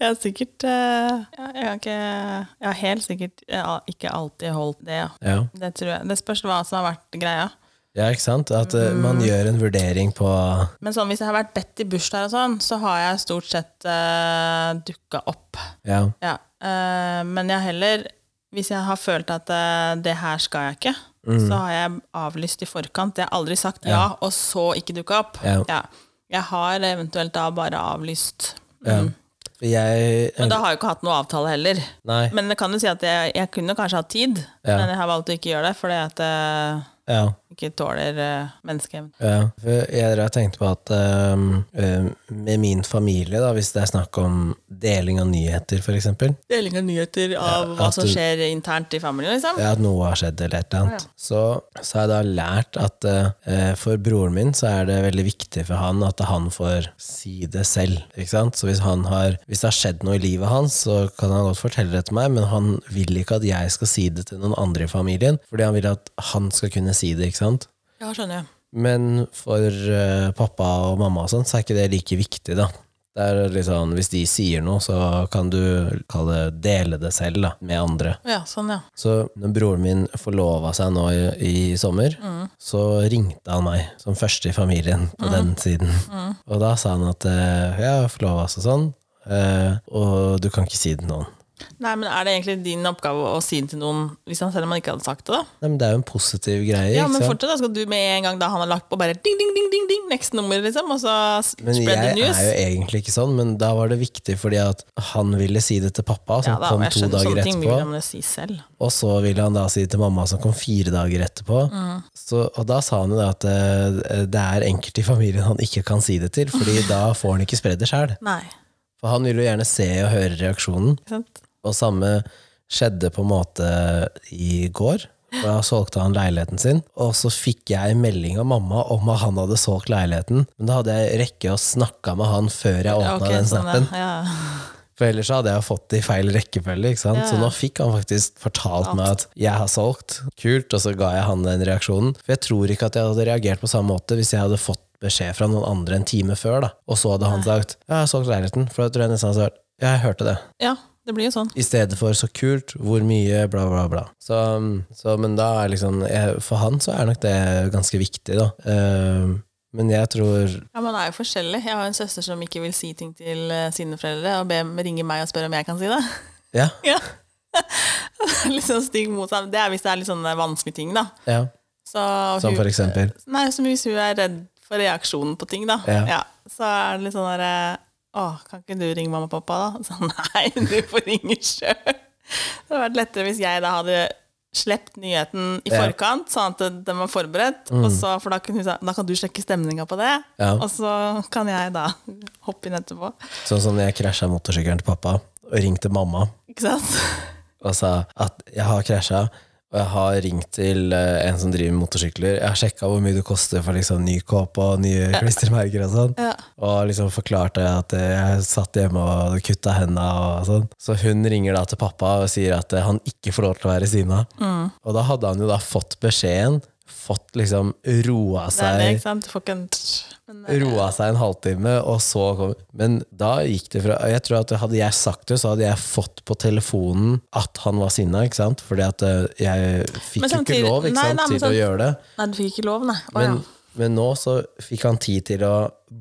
Speaker 2: jeg har sikkert eh, ja, Jeg har ikke Jeg har helt sikkert eh, al- ikke alltid holdt det, ja.
Speaker 1: ja.
Speaker 2: Det tror jeg. Det spørs hva som har vært greia.
Speaker 1: ja, ikke sant? At eh, man gjør en vurdering på
Speaker 2: Men sånn, hvis jeg har vært bedt i bursdager og sånn, så har jeg stort sett uh, dukka opp.
Speaker 1: Ja,
Speaker 2: Ja. eh, men jeg har heller Hvis jeg har følt at eh, det her skal jeg ikke,
Speaker 1: Mm.
Speaker 2: så har jeg avlyst i forkant. Jeg har aldri sagt ja, og så ikke dukka opp.
Speaker 1: Ja.
Speaker 2: Jeg har eventuelt da bare avlyst.
Speaker 1: ja. Jeg
Speaker 2: Men da har jeg ikke hatt noe avtale heller.
Speaker 1: Nei.
Speaker 2: Men det kan jo si at jeg, jeg kunne kanskje hatt tid,
Speaker 1: Ja.
Speaker 2: men jeg har valgt å ikke gjøre det fordi at jeg
Speaker 1: Ja.
Speaker 2: ikke tåler uh, menneskeevne.
Speaker 1: Ja, for jeg har tenkt på at ehm, ehm, med min familie, da, hvis det er snakk om deling av nyheter, for eksempel,
Speaker 2: Deling av nyheter av hva
Speaker 1: at
Speaker 2: som
Speaker 1: du-
Speaker 2: skjer internt i familien, liksom.
Speaker 1: ja, at noe har skjedd eller et eller annet, så, så har jeg da lært at eh, for broren min så er det veldig viktig for han at han får si det selv, ikke sant? Så hvis, han har, hvis det har skjedd noe i livet hans, så kan han godt fortelle det til meg, men han vil ikke at jeg skal si det til noen andre i familien, fordi han vil at han skal kunne si det, ikke sant?
Speaker 2: Ja, skjønner jeg.
Speaker 1: Men for eh, pappa og mamma og sånn, så er ikke det like viktig, da. Det er litt sånn, Hvis de sier noe, så kan du kalle det, dele det selv da, med andre.
Speaker 2: Ja, sånn, ja.
Speaker 1: Så når broren min forlova seg nå i, i sommer, så ringte han meg som første i familien på
Speaker 2: Mm.
Speaker 1: den siden. Og da sa han at eh, ja, forlova seg sånn, eh, og du kan ikke si det til noen.
Speaker 2: Nei, men Er det egentlig din oppgave å si det til noen hvis han selv om han ikke hadde sagt det? da?
Speaker 1: Nei, men det er jo en positiv greie.
Speaker 2: Ja,
Speaker 1: ikke
Speaker 2: men
Speaker 1: sant?
Speaker 2: fortsatt da skal du med en gang da han har lagt på, bare ding, ding, ding, ding, ding, next nummer, liksom, og så s-
Speaker 1: Men jeg
Speaker 2: spread the
Speaker 1: er jo
Speaker 2: news.
Speaker 1: egentlig ikke sånn, men da var det viktig fordi at han ville si det til pappa, som
Speaker 2: ja, da,
Speaker 1: kom
Speaker 2: og jeg
Speaker 1: to
Speaker 2: skjønner
Speaker 1: dager
Speaker 2: sånne ting vil
Speaker 1: etterpå.
Speaker 2: han jo si selv.
Speaker 1: Og så ville han da si det til mamma, som kom fire dager etterpå. Så, og da sa han jo det at eh, det er enkelte i familien han ikke kan si det til, fordi da får han ikke spredd det sjæl.
Speaker 2: Nei,
Speaker 1: For han ville jo gjerne se og høre reaksjonen.
Speaker 2: ikke sant?
Speaker 1: Og samme skjedde på en måte i går. Da solgte han leiligheten sin, og så fikk jeg melding av mamma om at han hadde solgt leiligheten. Men da hadde jeg rekke å snakke med han før jeg
Speaker 2: Ja,
Speaker 1: åpna
Speaker 2: ok,
Speaker 1: den
Speaker 2: sånn,
Speaker 1: snappen.
Speaker 2: ja. ja.
Speaker 1: For ellers så hadde jeg fått det i feil rekkefølge. ikke sant?
Speaker 2: Ja, ja.
Speaker 1: Så nå fikk han faktisk fortalt
Speaker 2: Alt.
Speaker 1: meg at 'jeg har solgt', kult, og så ga jeg han den reaksjonen. For jeg tror ikke at jeg hadde reagert på samme måte hvis jeg hadde fått beskjed fra noen andre en time før, da. og så hadde han sagt 'jeg har solgt leiligheten', for da tror jeg nesten han hadde sagt 'ja, jeg hørte det'.
Speaker 2: ja, det blir jo sånn.
Speaker 1: I stedet for 'så kult', 'hvor mye', bla, bla, bla. Så, um, så men da er liksom jeg, For han så er nok det ganske viktig, da. Ehm, men jeg tror
Speaker 2: Ja, Man er jo forskjellig. Jeg har en søster som ikke vil si ting til eh, sine foreldre, og be, ringer meg og spør om jeg kan si det.
Speaker 1: Ja.
Speaker 2: ja. litt sånn stygg mot seg. Det er hvis det er litt sånne vanskelige ting, da.
Speaker 1: ja
Speaker 2: Så,
Speaker 1: som for
Speaker 2: hun,
Speaker 1: eksempel.
Speaker 2: nei, som hvis hun er redd for reaksjonen på ting, da.
Speaker 1: Ja.
Speaker 2: så er det litt sånn derre Å, kan ikke du ringe mamma og pappa, da? Så nei, du får ringe sjøl. Det hadde vært lettere hvis jeg da hadde slept nyheten i
Speaker 1: Ja. Mm.
Speaker 2: forkant, sånn at den var forberedt. Og så, for da, kunne hun, sa- da kan du sjekke stemninga på det,
Speaker 1: Ja.
Speaker 2: og så kan jeg da hoppe inn etterpå.
Speaker 1: Sånn som jeg krasja motorsykkelen til pappa og ringte mamma
Speaker 2: Ikke sant?
Speaker 1: og sa at jeg har krasja, Og jeg har ringt til eh, en som driver med motorsykler. Jeg har sjekka hvor mye det koster for liksom, ny kåpe og nye klistremerker og sånn.
Speaker 2: Ja.
Speaker 1: Og liksom forklarte at jeg satt hjemme og kutta henda og sånn. Så hun ringer da til pappa og sier at eh, han ikke får lov til å være Sina.
Speaker 2: Mm.
Speaker 1: Og da hadde han jo da fått beskjeden, fått liksom roa
Speaker 2: Det er det,
Speaker 1: seg
Speaker 2: ikke sant? Du får ikke en Men, eh,
Speaker 1: roa seg en halvtime, og så kom Men da gikk det fra Jeg tror at hadde jeg sagt det, så hadde jeg fått på telefonen at han var sinna, ikke sant? Fordi at eh, jeg fikk
Speaker 2: Men samtidig-
Speaker 1: jo ikke lov ikke
Speaker 2: nei,
Speaker 1: sant,
Speaker 2: nei, men
Speaker 1: til
Speaker 2: sant.
Speaker 1: å gjøre det.
Speaker 2: Nei, du fikk ikke lov, nei. Å,
Speaker 1: Men,
Speaker 2: ja.
Speaker 1: men nå så fikk han tid til å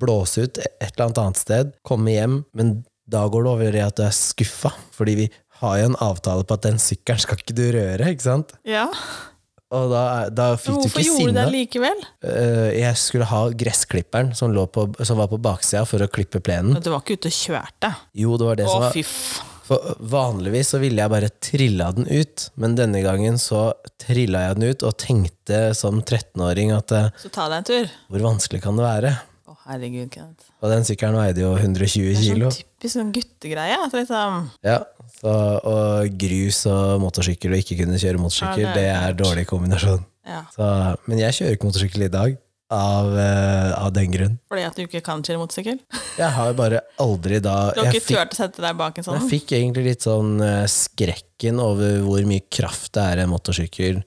Speaker 1: blåse ut et eller annet annet sted, komme hjem, men da går det over i at du er skuffa, fordi vi har jo en avtale på at den sykkelen skal ikke du røre, ikke sant?
Speaker 2: ja.
Speaker 1: Og da, er- da
Speaker 2: Men
Speaker 1: fikk du
Speaker 2: hvorfor
Speaker 1: ikke
Speaker 2: gjorde du det
Speaker 1: sinne.
Speaker 2: likevel?
Speaker 1: Eh, jeg skulle ha gressklipperen som, lå på, som var på baksida for å klippe plenen.
Speaker 2: Men Du var ikke ute og kjørte.
Speaker 1: Jo, det var det
Speaker 2: Å,
Speaker 1: som var
Speaker 2: fy f...
Speaker 1: for Vanligvis så ville jeg bare trilla den ut, men denne gangen så trilla jeg den ut og tenkte som 13-åring at eh,
Speaker 2: Så ta deg en tur.
Speaker 1: hvor vanskelig kan det være?
Speaker 2: Å, herregud, Kenneth.
Speaker 1: Og den sykkelen veide jo 120
Speaker 2: Det er
Speaker 1: kilo.
Speaker 2: sånn typisk sånn guttegreie. At liksom
Speaker 1: Ja, så, og grus og motorsykkel og ikke kunne kjøre motorsykkel,
Speaker 2: Ja, det
Speaker 1: det
Speaker 2: er
Speaker 1: er dårlig kombinasjon.
Speaker 2: Ja.
Speaker 1: Så, men jeg kjører ikke motorsykkel i dag, av, eh, av den grunn.
Speaker 2: Fordi at du ikke kan kjøre motorsykkel?
Speaker 1: Jeg har bare aldri da
Speaker 2: Du har
Speaker 1: jeg
Speaker 2: ikke
Speaker 1: fikk,
Speaker 2: turt å sette deg bak en sånn?
Speaker 1: jeg fikk egentlig litt sånn eh, skrekken over hvor mye kraft det er i en motorsykkel,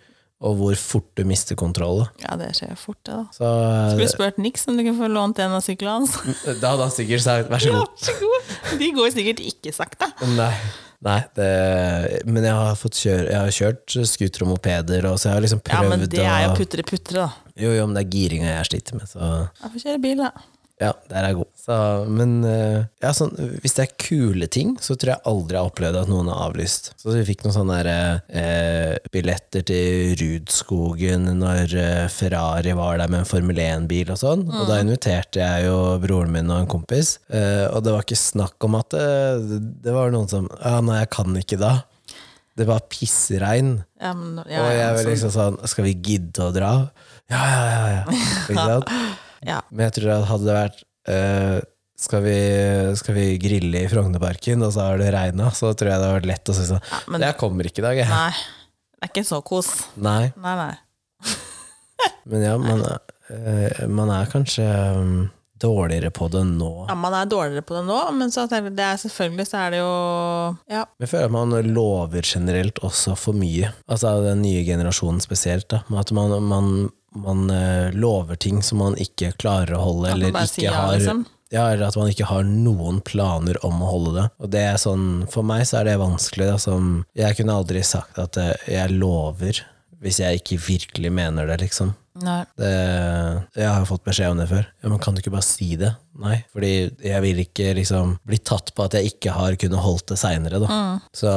Speaker 1: og hvor fort du mister kontroll. da.
Speaker 2: Ja, det skjer fort, det, da.
Speaker 1: Så
Speaker 2: Skulle
Speaker 1: eh,
Speaker 2: du spurt Nix om du kunne få lånt en av syklene hans?
Speaker 1: da hadde han sikkert sagt vær så
Speaker 2: Ja,
Speaker 1: god.
Speaker 2: vær så god! De går sikkert ikke sakte.
Speaker 1: Nei. Nei, det, men jeg har, fått kjøre, jeg har kjørt scooter og mopeder, og så jeg har liksom
Speaker 2: Ja,
Speaker 1: prøvd
Speaker 2: men det er jo
Speaker 1: å
Speaker 2: putre-putre, da.
Speaker 1: Jo, jo, men det er giringa jeg sliter med, så
Speaker 2: Jeg får kjøre bil, da.
Speaker 1: ja, der er jeg god. Så, men eh, ja, sånn, hvis det er kule ting, så tror jeg aldri jeg har opplevd at noen har avlyst. Så vi fikk noen sånne der, eh, billetter til Rudskogen når eh, Ferrari var der med en Formel 1-bil og sånn. Og da
Speaker 2: Mm.
Speaker 1: inviterte jeg jo broren min og en kompis, eh, og det var ikke snakk om at det, det var noen som Ja, nei, jeg kan ikke da. Det var pissregn.
Speaker 2: Ja, men, ja,
Speaker 1: og
Speaker 2: ja,
Speaker 1: jeg var
Speaker 2: sånn.
Speaker 1: liksom sånn Skal vi gidde å dra? Ja, ja, ja. ja. Ikke sant?
Speaker 2: sånn- ja.
Speaker 1: Men jeg tror at hadde det vært eh, skal, vi, skal vi grille i Frognerparken, og så har det regna, så tror jeg det hadde vært lett å si sånn
Speaker 2: men-
Speaker 1: Jeg kommer ikke i dag, jeg.
Speaker 2: Nei. Det er ikke så kos.
Speaker 1: Nei.
Speaker 2: Nei, nei.
Speaker 1: Men ja, man, er- eh, man er kanskje mm, dårligere på det nå.
Speaker 2: Ja, man er dårligere på det nå, men så tenker jeg, det er selvfølgelig så er det jo Ja.
Speaker 1: Jeg føler at man lover generelt også for mye. Altså den nye generasjonen spesielt. Da. At man, man, man eh, lover ting som man ikke klarer å holde,
Speaker 2: At man
Speaker 1: eller
Speaker 2: bare sier
Speaker 1: ikke
Speaker 2: ja,
Speaker 1: har
Speaker 2: liksom.
Speaker 1: ja, eller at man ikke har noen planer om å holde det. Og det er sånn, For meg så er det vanskelig. Da, som, jeg kunne aldri sagt at eh, jeg lover, hvis jeg ikke virkelig mener det, liksom.
Speaker 2: Nei.
Speaker 1: Det, jeg har jo fått beskjed om det før. Ja, men kan du ikke bare si det? Nei, fordi jeg vil ikke liksom bli tatt på at jeg ikke har kunnet holdt det seinere, da.
Speaker 2: Mm.
Speaker 1: Så,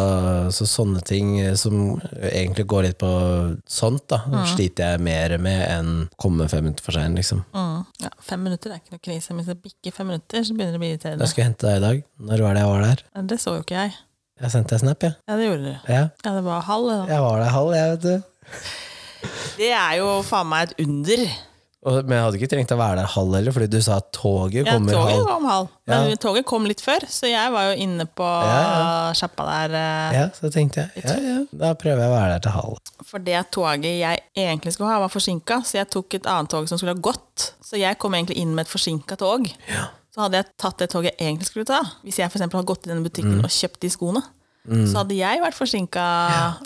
Speaker 1: så sånne ting som egentlig går litt på sånt, da,
Speaker 2: Mm.
Speaker 1: sliter jeg mer med enn komme fem minutter for sein, liksom.
Speaker 2: Mm. Ja, fem minutter er ikke noe krise. Men hvis det bikker fem minutter, så begynner det å bli irriterende.
Speaker 1: Jeg skulle hente deg i dag. Når var det jeg var der?
Speaker 2: Det så jo ikke jeg.
Speaker 1: Jeg sendte deg snap, jeg.
Speaker 2: Ja, det gjorde du.
Speaker 1: Ja.
Speaker 2: Ja, det var halv. det da.
Speaker 1: Jeg var der halv, jeg, vet du.
Speaker 2: Det er jo faen meg et under.
Speaker 1: Og, men jeg hadde ikke trengt å være der halv heller, fordi du sa at toget
Speaker 2: Ja,
Speaker 1: kommer
Speaker 2: toget
Speaker 1: halv.
Speaker 2: kom halv. Men toget kom litt før, så jeg var jo inne på
Speaker 1: Ja,
Speaker 2: sjappa der. eh,
Speaker 1: Ja, så tenkte jeg, ja, ja, da prøver jeg å være der til halv.
Speaker 2: For det toget jeg egentlig skulle ha, var forsinka, så jeg tok et annet tog som skulle ha gått. Så jeg kom egentlig inn med et forsinka tog. Så hadde jeg tatt det toget jeg egentlig skulle ta, hvis jeg for eksempel hadde gått i denne butikken og kjøpt de skoene, så hadde jeg vært forsinka.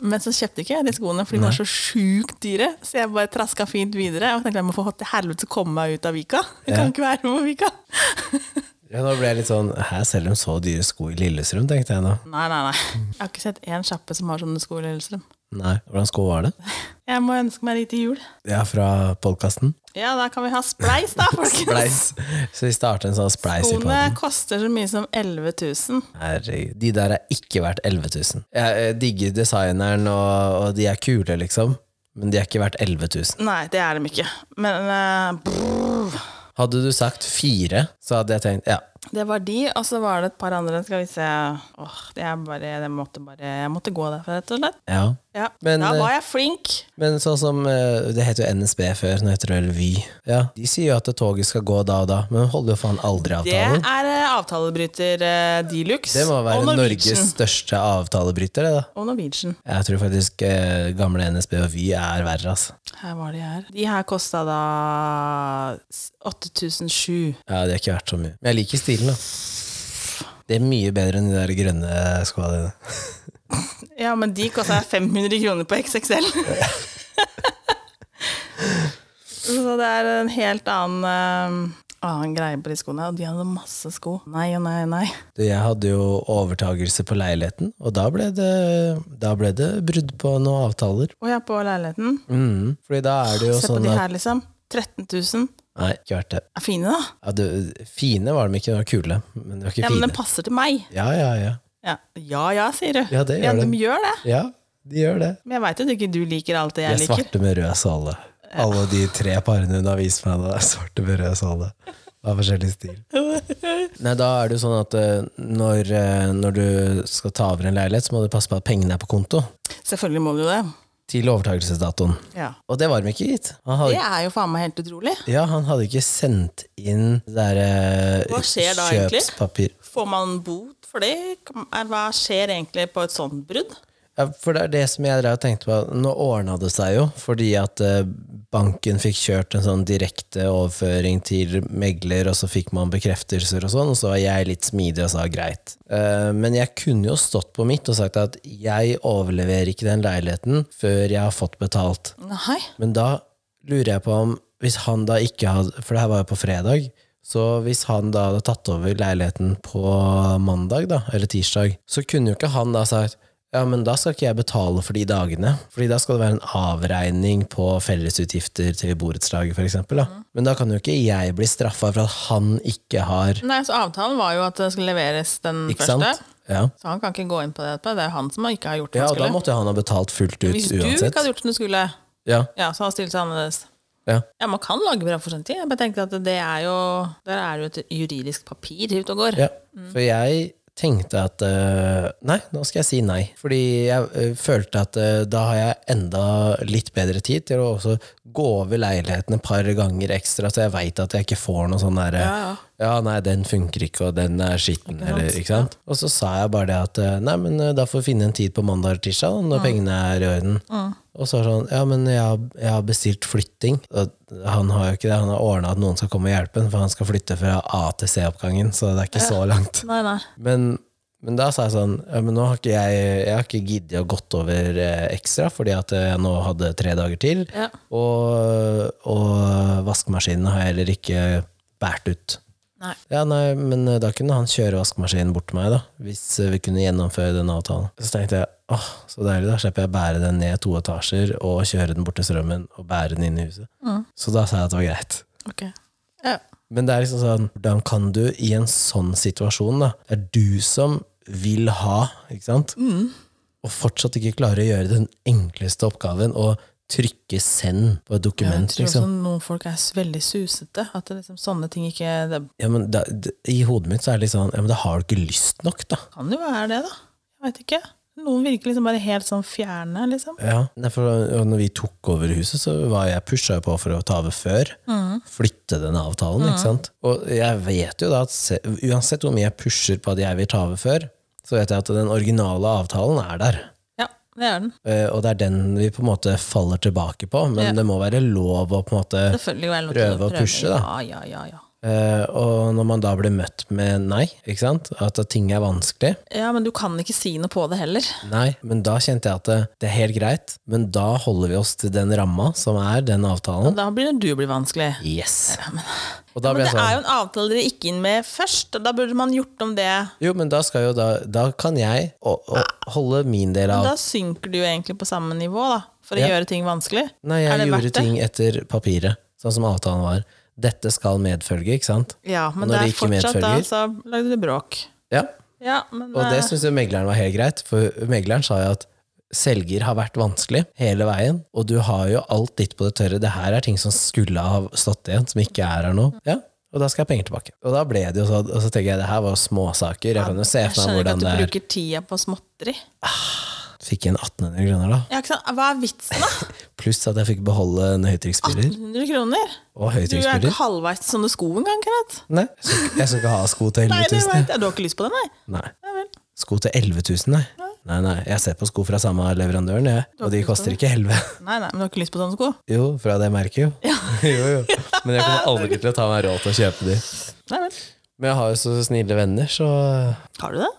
Speaker 2: Men så kjøpte ikke jeg de skoene, for de var så sjukt dyre. Så jeg bare traska fint videre og tenkte jeg må få til helvete komme meg ut av Vika. Jeg kan ikke være på Vika.
Speaker 1: Ja, nå ble jeg litt sånn Her selger de så dyre sko i Lillestrøm, tenkte jeg nå.
Speaker 2: Nei, nei, nei. Jeg har ikke sett én sjappe som har sånne sko i Lillestrøm.
Speaker 1: Nei, hvordan sko var det?
Speaker 2: Jeg må ønske meg de til jul.
Speaker 1: Ja, fra podkasten.
Speaker 2: Ja, da kan vi ha spleis, da, folkens.
Speaker 1: Spleis. Så vi starter en sånn spleis i
Speaker 2: Skoene
Speaker 1: podden.
Speaker 2: koster så mye som 11 000.
Speaker 1: Herregud. De der er ikke verdt 11 000. Jeg, eh, digger designeren, og, og de er kule, liksom. Men de er ikke verdt 11 000.
Speaker 2: Nei, det er dem ikke. Men eh, brr,
Speaker 1: Hadde du sagt fire, så hadde jeg tenkt ja,
Speaker 2: Det var de, og så var det et par andre. Skal vi se Åh, det er bare, det måtte bare, Jeg måtte gå derfra, rett og slett.
Speaker 1: Ja.
Speaker 2: Ja.
Speaker 1: Men,
Speaker 2: da
Speaker 1: eh,
Speaker 2: var jeg flink.
Speaker 1: Men sånn som eh, Det heter jo NSB før, nå heter det vel Vy. Ja, de sier jo at toget skal gå da og da, men holder jo faen aldri
Speaker 2: Det
Speaker 1: avtalen.
Speaker 2: er eh, avtalebryter eh, de luxe.
Speaker 1: Det må være
Speaker 2: og Norwegian.
Speaker 1: Norges største avtalebryter, det, da.
Speaker 2: Og Norwegian.
Speaker 1: Jeg tror faktisk eh, gamle NSB og Vy er verre, altså.
Speaker 2: Her var de her. De her kosta da 8007.
Speaker 1: Ja, det har ikke vært så mye. Men jeg liker stilen, da. Det er mye bedre enn de der grønne skoa dine.
Speaker 2: Ja, men de kosta 500 kroner på XXL. Så det er en helt annen, eh, annen greie på de skoene. Og de hadde masse sko. Nei og nei og nei.
Speaker 1: Du, Jeg hadde jo overtagelse på leiligheten, og da ble det, da ble det brudd på noen avtaler.
Speaker 2: Og jeg på leiligheten.
Speaker 1: Mm. Fordi da er det jo
Speaker 2: Se på
Speaker 1: sånn
Speaker 2: de
Speaker 1: at
Speaker 2: her, liksom. 13 000.
Speaker 1: Nei, ikke vært det.
Speaker 2: Er fine, da.
Speaker 1: Ja, du, fine var de ikke, de var kule, men de var ikke
Speaker 2: Ja, men
Speaker 1: fine.
Speaker 2: den passer til meg.
Speaker 1: Ja, ja, ja.
Speaker 2: Ja, ja, ja sier du.
Speaker 1: Ja, det gjør
Speaker 2: de
Speaker 1: den.
Speaker 2: gjør det.
Speaker 1: Ja, de gjør det.
Speaker 2: Men jeg veit jo at ikke du liker alt det
Speaker 1: De
Speaker 2: jeg,
Speaker 1: er
Speaker 2: liker.
Speaker 1: svarte med rød såle. Alle de tre parene hun har vist meg, da, er svarte med rød såle. Av forskjellig stil. Nei, da er det jo sånn at eh, når, eh, når du skal ta over en leilighet, så må du passe på at pengene er på konto
Speaker 2: Selvfølgelig må du jo det.
Speaker 1: til overtakelsesdatoen.
Speaker 2: Ja.
Speaker 1: Og det var de ikke gitt. Han
Speaker 2: Det
Speaker 1: hadde,
Speaker 2: er jo faen meg helt utrolig.
Speaker 1: ja, han hadde ikke sendt inn det derre
Speaker 2: Hva skjer da egentlig?
Speaker 1: kjøpspapir.
Speaker 2: Får man bot for det? Kan- er- Hva skjer egentlig på et sånt brudd?
Speaker 1: Ja, for det er det som jeg drev og tenkte på. Nå ordna det seg jo, fordi at eh, banken fikk kjørt en sånn direkte overføring til megler, og så fikk man bekreftelser og sånn, og så var jeg litt smidig og sa greit. Eh, men jeg kunne jo stått på mitt og sagt at jeg overleverer ikke den leiligheten før jeg har fått betalt.
Speaker 2: Nei.
Speaker 1: Men da lurer jeg på om hvis han da ikke hadde For det her var jo på fredag. Så hvis han da hadde tatt over leiligheten på mandag, da, eller tirsdag, så kunne jo ikke han da sagt ja, men da skal ikke jeg betale for de dagene. Fordi da skal det være en avregning på fellesutgifter til borettslaget, f.eks. da.
Speaker 2: Mm.
Speaker 1: Men da kan jo ikke jeg bli straffa for at han ikke har
Speaker 2: Nei, så Avtalen var jo at det skulle leveres den
Speaker 1: Ikke
Speaker 2: første.
Speaker 1: sant? Ja.
Speaker 2: Så han kan ikke gå inn på det etterpå. Det er jo han som ikke har gjort det
Speaker 1: ja,
Speaker 2: han
Speaker 1: og da
Speaker 2: skulle.
Speaker 1: måtte han ha betalt fullt ut
Speaker 2: Hvis du ikke
Speaker 1: uansett.
Speaker 2: hadde gjort det du skulle,
Speaker 1: Ja,
Speaker 2: ja, så hadde han stilt seg annerledes.
Speaker 1: ja.
Speaker 2: Ja, Man kan lage bra for sin tid. Jeg bare tenkte at det er jo, Der er det jo et juridisk papir ute og går.
Speaker 1: Ja, for jeg tenkte at eh, nei, nå skal jeg si nei. Fordi jeg eh, følte at eh, da har jeg enda litt bedre tid til å også gå over leiligheten et par ganger ekstra, så jeg veit at jeg ikke får noe sånn derre
Speaker 2: Ja, ja.
Speaker 1: ja, nei, den funker ikke, og den er skitten, eller ikke sant. Og så sa jeg bare det at eh, nei, men eh, da får vi finne en tid på mandag eller tirsdag, da, når pengene er i orden. Og så er det sånn, ja, men jeg har, jeg har bestilt flytting. Og han har jo ikke det, han har ordna at noen skal komme og hjelpe ham, for han skal flytte fra A til C-oppgangen, så det er ikke så langt.
Speaker 2: Nei, nei.
Speaker 1: Men, men da sa jeg sånn ja, men nå har ikke jeg, jeg har ikke giddet å gått over eh, ekstra, fordi at eh, jeg nå hadde tre dager til.
Speaker 2: Ja.
Speaker 1: Og, og vaskemaskinen har jeg heller ikke båret ut.
Speaker 2: Nei.
Speaker 1: Ja, nei, Men eh, da kunne han kjøre vaskemaskinen bort til meg, da, hvis eh, vi kunne gjennomføre den avtalen. Så tenkte jeg åh, så deilig, da slipper jeg bære den ned to etasjer og kjøre den bort til strømmen og bære den inn i huset.
Speaker 2: Mm.
Speaker 1: Så da sa jeg at det var greit.
Speaker 2: Ok. Ja.
Speaker 1: Men det er liksom sånn, hvordan kan du i en sånn situasjon, da? Det er du som vil ha, ikke sant?
Speaker 2: Mm.
Speaker 1: Og fortsatt ikke klarer å gjøre den enkleste oppgaven, å trykke send på et
Speaker 2: Jeg
Speaker 1: dokument,
Speaker 2: tror sånn. også
Speaker 1: liksom.
Speaker 2: noen folk er s- veldig susete. At det liksom, sånne ting ikke Det
Speaker 1: Ja, men da, d- I hodet mitt så er det litt sånn, ja, men da har du ikke lyst nok, da.
Speaker 2: kan jo være det, da. Jeg veit ikke. Noen virker liksom bare helt sånn fjerne, liksom.
Speaker 1: Ja, Nei, for og når vi tok over huset, så var jeg pusha på for å ta over før. Flytte den avtalen, ikke sant. Og jeg vet jo da at se, uansett hvor mye jeg pusher på at jeg vil ta over før, så vet jeg at den originale avtalen er der.
Speaker 2: Ja, det gjør den.
Speaker 1: Eh, Og det er den vi på en måte faller tilbake på, men
Speaker 2: Ja.
Speaker 1: det må være lov å på en måte
Speaker 2: Selvfølgelig er det lov til
Speaker 1: Prøve å pushe, da.
Speaker 2: Ja, ja, ja, ja.
Speaker 1: eh, Og når man da blir møtt med nei, ikke sant? at ting er vanskelig
Speaker 2: ja, men du kan ikke si noe på det heller.
Speaker 1: Nei, men da kjente jeg at det, det er helt greit, men da holder vi oss til den ramma som er den avtalen.
Speaker 2: Da blir det du blir vanskelig.
Speaker 1: Yes! Og da
Speaker 2: Men
Speaker 1: ble
Speaker 2: det
Speaker 1: jeg
Speaker 2: er
Speaker 1: sånn
Speaker 2: jo en avtale dere gikk inn med først, og da burde man gjort om det.
Speaker 1: Jo, men da skal jo da Da kan jeg å, å, holde min del av
Speaker 2: Da synker du jo egentlig på samme nivå, da, for å
Speaker 1: Ja.
Speaker 2: gjøre ting vanskelig.
Speaker 1: Nei,
Speaker 2: er
Speaker 1: jeg
Speaker 2: det
Speaker 1: gjorde
Speaker 2: verdt det?
Speaker 1: ting etter papiret, sånn som avtalen var. Dette skal medfølge, ikke sant?
Speaker 2: Ja, men
Speaker 1: når
Speaker 2: det
Speaker 1: det
Speaker 2: er
Speaker 1: ikke
Speaker 2: fortsatt da,
Speaker 1: medfølger?
Speaker 2: så lagde du bråk.
Speaker 1: Ja.
Speaker 2: Ja, men
Speaker 1: Og
Speaker 2: eh,
Speaker 1: det syntes jo megleren var helt greit, for megleren sa jo at selger har vært vanskelig hele veien, og du har jo alt ditt på det tørre. Det her er ting som skulle ha stått igjen, som ikke er her nå. Ja, Og da skal jeg ha penger tilbake. Og da ble det jo sånn, og så tenker jeg det her var jo småsaker. Jeg kan jo se
Speaker 2: Jeg
Speaker 1: for meg
Speaker 2: skjønner ikke
Speaker 1: hvordan
Speaker 2: at
Speaker 1: det
Speaker 2: du
Speaker 1: er.
Speaker 2: bruker tida på småtteri.
Speaker 1: Fikk igjen 1800 kroner, da.
Speaker 2: Ja, ikke sant? Hva er vitsen, da?
Speaker 1: Pluss at jeg fikk beholde en høytrykksspiller.
Speaker 2: 1800 kroner?
Speaker 1: Og
Speaker 2: Du er ikke
Speaker 1: høytrykksspiller.
Speaker 2: halvveis til sånne sko engang, Kenneth.
Speaker 1: Nei, jeg skal, ikke- jeg skal ikke ha sko til
Speaker 2: Nei,
Speaker 1: 11
Speaker 2: det
Speaker 1: 000.
Speaker 2: vet
Speaker 1: jeg.
Speaker 2: jeg. Du har ikke lyst på det, nei?
Speaker 1: Nei.
Speaker 2: Nei vel.
Speaker 1: Sko til 11 000, nei. Nei, nei. Jeg ser på sko fra samme leverandøren, jeg. Og de koster ikke 11
Speaker 2: Nei, nei, men du har ikke lyst på sånne sko?
Speaker 1: Jo, fra det merket, jo. jo, jo. Men jeg kommer aldri til å ta meg råd til å kjøpe de.
Speaker 2: Nei vel.
Speaker 1: Men jeg har jo så snille venner, så
Speaker 2: Har du det?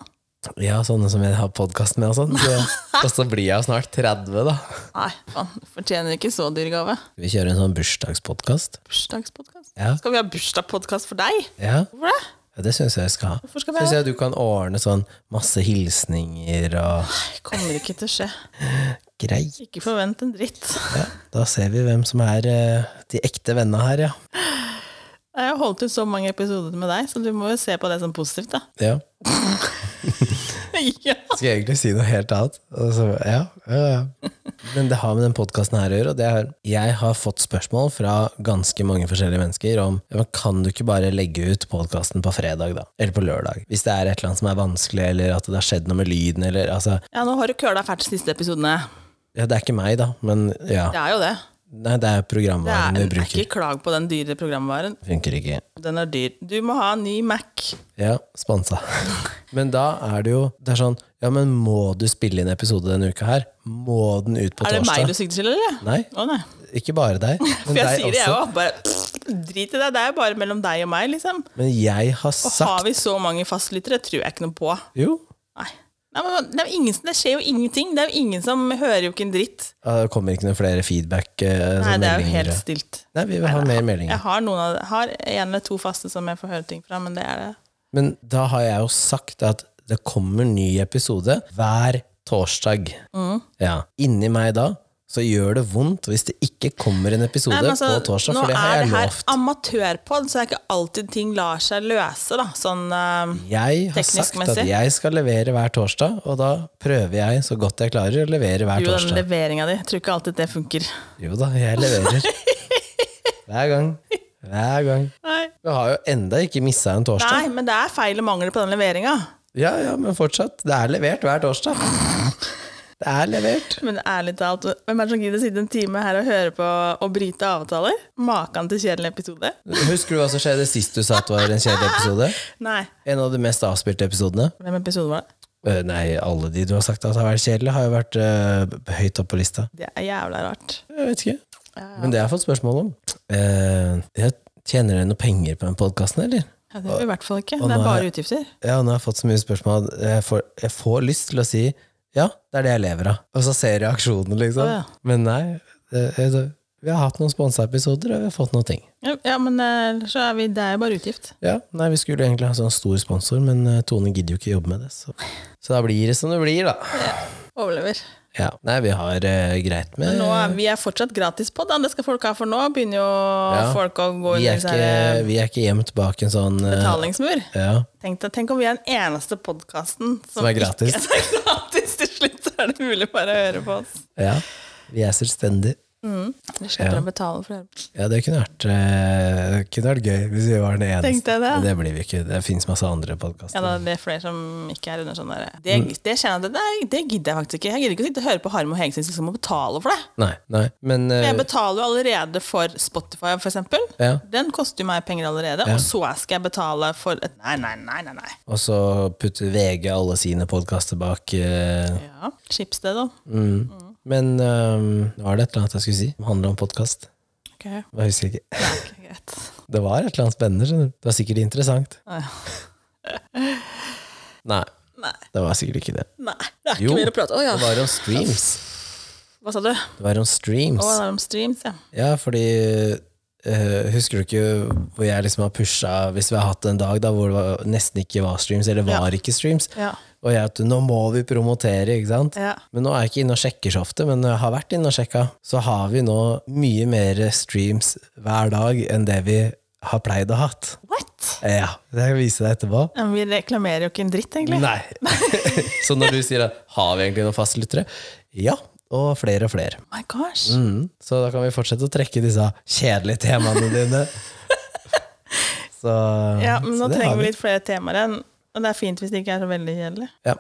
Speaker 1: Ja, sånne som jeg har podkast med og sånn. Så, og så blir jeg jo snart 30, da.
Speaker 2: Nei, faen. du Fortjener ikke så dyr gave.
Speaker 1: Skal vi kjøre en sånn bursdagspodkast?
Speaker 2: Bursdagspodkast.
Speaker 1: Ja.
Speaker 2: Skal vi ha bursdagspodkast for deg?
Speaker 1: Ja,
Speaker 2: Hvorfor det?
Speaker 1: ja det syns jeg vi skal ha.
Speaker 2: Hvorfor skal vi
Speaker 1: Syns
Speaker 2: ha det?
Speaker 1: jeg du kan ordne sånn masse hilsninger og
Speaker 2: Det Kommer ikke til å skje.
Speaker 1: grei.
Speaker 2: Ikke forvent en dritt.
Speaker 1: Ja, da ser vi hvem som er eh, de ekte vennene her, ja.
Speaker 2: Jeg har holdt ut så mange episoder med deg, så du må jo se på det som positivt, da.
Speaker 1: ja.
Speaker 2: Ja.
Speaker 1: Skal jeg egentlig si noe helt annet? Og så, ja, ja, ja. Men det har med den podkasten her å gjøre. Og det er, jeg har fått spørsmål fra ganske mange forskjellige mennesker om ja, men kan du ikke bare legge ut podkasten på fredag, da? Eller på lørdag? Hvis det er et eller annet som er vanskelig, eller at det har skjedd noe med lyden, eller altså
Speaker 2: ja, nå har du køla fælt de siste episodene.
Speaker 1: ja, Det er ikke meg, da, men ja.
Speaker 2: Det er jo det.
Speaker 1: Nei, det er
Speaker 2: Det er,
Speaker 1: programvaren du
Speaker 2: er
Speaker 1: bruker.
Speaker 2: ikke klag på den dyre programvaren.
Speaker 1: Funker ikke.
Speaker 2: Den er dyr. Du må ha en ny Mac.
Speaker 1: Ja, sponsa. Men da er det jo Det er sånn Ja, men må du spille inn episode denne uka her? Må den ut på
Speaker 2: Er det meg
Speaker 1: torsdag?
Speaker 2: du sikter til, eller?
Speaker 1: Nei,
Speaker 2: Å nei.
Speaker 1: ikke bare deg. Men
Speaker 2: For jeg
Speaker 1: deg
Speaker 2: sier det, jeg
Speaker 1: også.
Speaker 2: òg. Bare drit i det. Det er jo bare mellom deg og meg, liksom.
Speaker 1: Men jeg har
Speaker 2: Og
Speaker 1: sagt
Speaker 2: har vi så mange fastlyttere, tror jeg ikke noe på.
Speaker 1: Jo,
Speaker 2: Nei. Nei, men det, er jo ingen, som- det skjer jo ingenting. Det er jo ingen som hører jo ikke en dritt.
Speaker 1: Ja, det kommer ikke noen flere feedback. eh,
Speaker 2: Nei,
Speaker 1: sånn
Speaker 2: det er jo
Speaker 1: meldinger.
Speaker 2: helt stilt.
Speaker 1: Nei, vi vil ha mer meldinger.
Speaker 2: Jeg har, noen av, har en eller to faste som jeg får høre ting fra, men det er det.
Speaker 1: Men da har jeg jo sagt at det kommer ny episode hver torsdag.
Speaker 2: Mm.
Speaker 1: Ja. Inni meg da, så gjør det vondt hvis det ikke kommer en episode
Speaker 2: Nei, men altså,
Speaker 1: på torsdag,
Speaker 2: nå
Speaker 1: for det har
Speaker 2: er
Speaker 1: jeg
Speaker 2: det her
Speaker 1: lovt.
Speaker 2: amatørpod, så det er ikke alltid ting lar seg løse, da. Sånn
Speaker 1: Mm,
Speaker 2: eh,
Speaker 1: Jeg har
Speaker 2: teknisk
Speaker 1: sagt at
Speaker 2: messig.
Speaker 1: jeg skal levere hver torsdag, og da prøver jeg så godt jeg klarer å levere hver
Speaker 2: jo, den
Speaker 1: torsdag.
Speaker 2: leveringa di. Jeg tror ikke alltid det funker.
Speaker 1: Jo da, jeg leverer. Hver gang. Hver gang.
Speaker 2: Nei.
Speaker 1: Vi har jo enda ikke missa en torsdag.
Speaker 2: Nei, men det er feil og mangler på den leveringa.
Speaker 1: Ja, ja, men fortsatt. Det er levert hver torsdag. Det er levert.
Speaker 2: Men ærlig talt, hvem er det som gidder å sitte en time her og høre på og bryte avtaler? Makan til kjedelig episode?
Speaker 1: Husker du hva som skjedde sist du sa at det var en kjedelig episode?
Speaker 2: Nei.
Speaker 1: En av de mest avspilte episodene?
Speaker 2: Hvem episode var det?
Speaker 1: Øh, nei, alle de du har sagt at har vært kjedelige, har jo vært øh, høyt oppe på lista.
Speaker 2: Det er jævla rart.
Speaker 1: Jeg vet ikke. Men det har jeg fått spørsmål om. Eh, jeg tjener dere noe penger på den podkasten, eller?
Speaker 2: Ja, det gjør vi i hvert fall ikke.
Speaker 1: og
Speaker 2: Det
Speaker 1: nå
Speaker 2: er
Speaker 1: er-
Speaker 2: bare utgifter.
Speaker 1: Ja, nå har jeg fått så mye spørsmål at jeg får, jeg får lyst til å si ja, det er det jeg lever av. Og så ser jeg reaksjonen, liksom.
Speaker 2: Å, ja.
Speaker 1: Men nei. det- det- vi har hatt noen sponsa episoder, og vi har fått noen ting.
Speaker 2: Ja, Ja, men eh, så er vi, det er jo bare utgift.
Speaker 1: Ja, nei, vi skulle egentlig ha sånn stor sponsor, men eh, Tone gidder jo ikke jobbe med det. Så, så da blir det som det blir, da.
Speaker 2: Overlever.
Speaker 1: Ja, nei, vi har eh, greit med
Speaker 2: Nå er, vi er fortsatt gratis på den, det skal folk ha for nå. Begynner jo
Speaker 1: Ja.
Speaker 2: folk å gå
Speaker 1: vi
Speaker 2: inn i
Speaker 1: er,
Speaker 2: disse her eh,
Speaker 1: ikke, vi er ikke gjemt bak en sånn eh,
Speaker 2: betalingsmur.
Speaker 1: ja,
Speaker 2: Tenk, deg- tenk om vi er den eneste podkasten
Speaker 1: Som er gratis.
Speaker 2: Ikke er gratis. Til slutt så er det mulig bare å høre på oss.
Speaker 1: ja, vi er selvstendige.
Speaker 2: Vi slipper å betale for å høre på.
Speaker 1: Ja, det kunne vært, eh, det kunne vært gøy hvis vi var den eneste.
Speaker 2: Tenkte jeg det.
Speaker 1: Men det blir vi ikke. Det fins masse andre podkaster.
Speaker 2: Ja, da, det er flere som ikke er under sånn der Det, det kjenner jeg at det, det, det gidder jeg faktisk ikke. Jeg gidder ikke å sitte og høre på Harm og Hegsnes liksom og betale for det.
Speaker 1: Nei, nei, men eh,
Speaker 2: Jeg betaler jo allerede for Spotify, for eksempel.
Speaker 1: ja.
Speaker 2: Den koster jo meg penger allerede, og så skal jeg betale for et Nei, nei, nei, nei. nei.
Speaker 1: Og så putter VG alle sine podkaster bak. eh, mm.
Speaker 2: Ja, Chips det, da. Mm.
Speaker 1: Men eh, nå var det et eller annet jeg skulle si som handler om podkast.
Speaker 2: Ok, det
Speaker 1: Jeg husker ikke.
Speaker 2: er ikke greit.
Speaker 1: Det var et eller annet spennende. skjønner du. Det var sikkert interessant.
Speaker 2: Ah,
Speaker 1: Nei,
Speaker 2: Nei,
Speaker 1: det var sikkert ikke det.
Speaker 2: nei, det er
Speaker 1: Jo.
Speaker 2: ikke mer å prate om. Å, ja.
Speaker 1: Det var om streams.
Speaker 2: Hva sa du? Å,
Speaker 1: Det var om streams.
Speaker 2: det er om streams, ja.
Speaker 1: Ja, fordi eh, Husker du ikke hvor jeg liksom har pusha hvis vi har hatt en dag da hvor det var, nesten ikke var streams, eller var ikke streams?
Speaker 2: Ja.
Speaker 1: Og jeg at nå må vi promotere, ikke sant?
Speaker 2: Ja.
Speaker 1: Men nå er jeg ikke inne og sjekker så ofte, men når jeg har vært inne og sjekka, så har vi nå mye mer streams hver dag enn det vi har pleid å hatt. Eh,
Speaker 2: What?
Speaker 1: Ja, det skal jeg vise deg etterpå.
Speaker 2: Ja, men Vi reklamerer jo ikke en dritt, egentlig.
Speaker 1: Nei. så når du sier at har vi egentlig noen fastlyttere? Ja, og flere og flere.
Speaker 2: Oh My gosh.
Speaker 1: Mm. Så da kan vi fortsette å trekke disse kjedelige temaene dine Så,
Speaker 2: Ja, men
Speaker 1: så
Speaker 2: nå
Speaker 1: det har
Speaker 2: trenger vi litt flere temaer igjen. Og det er fint hvis det ikke er så veldig kjedelig.
Speaker 1: Ja.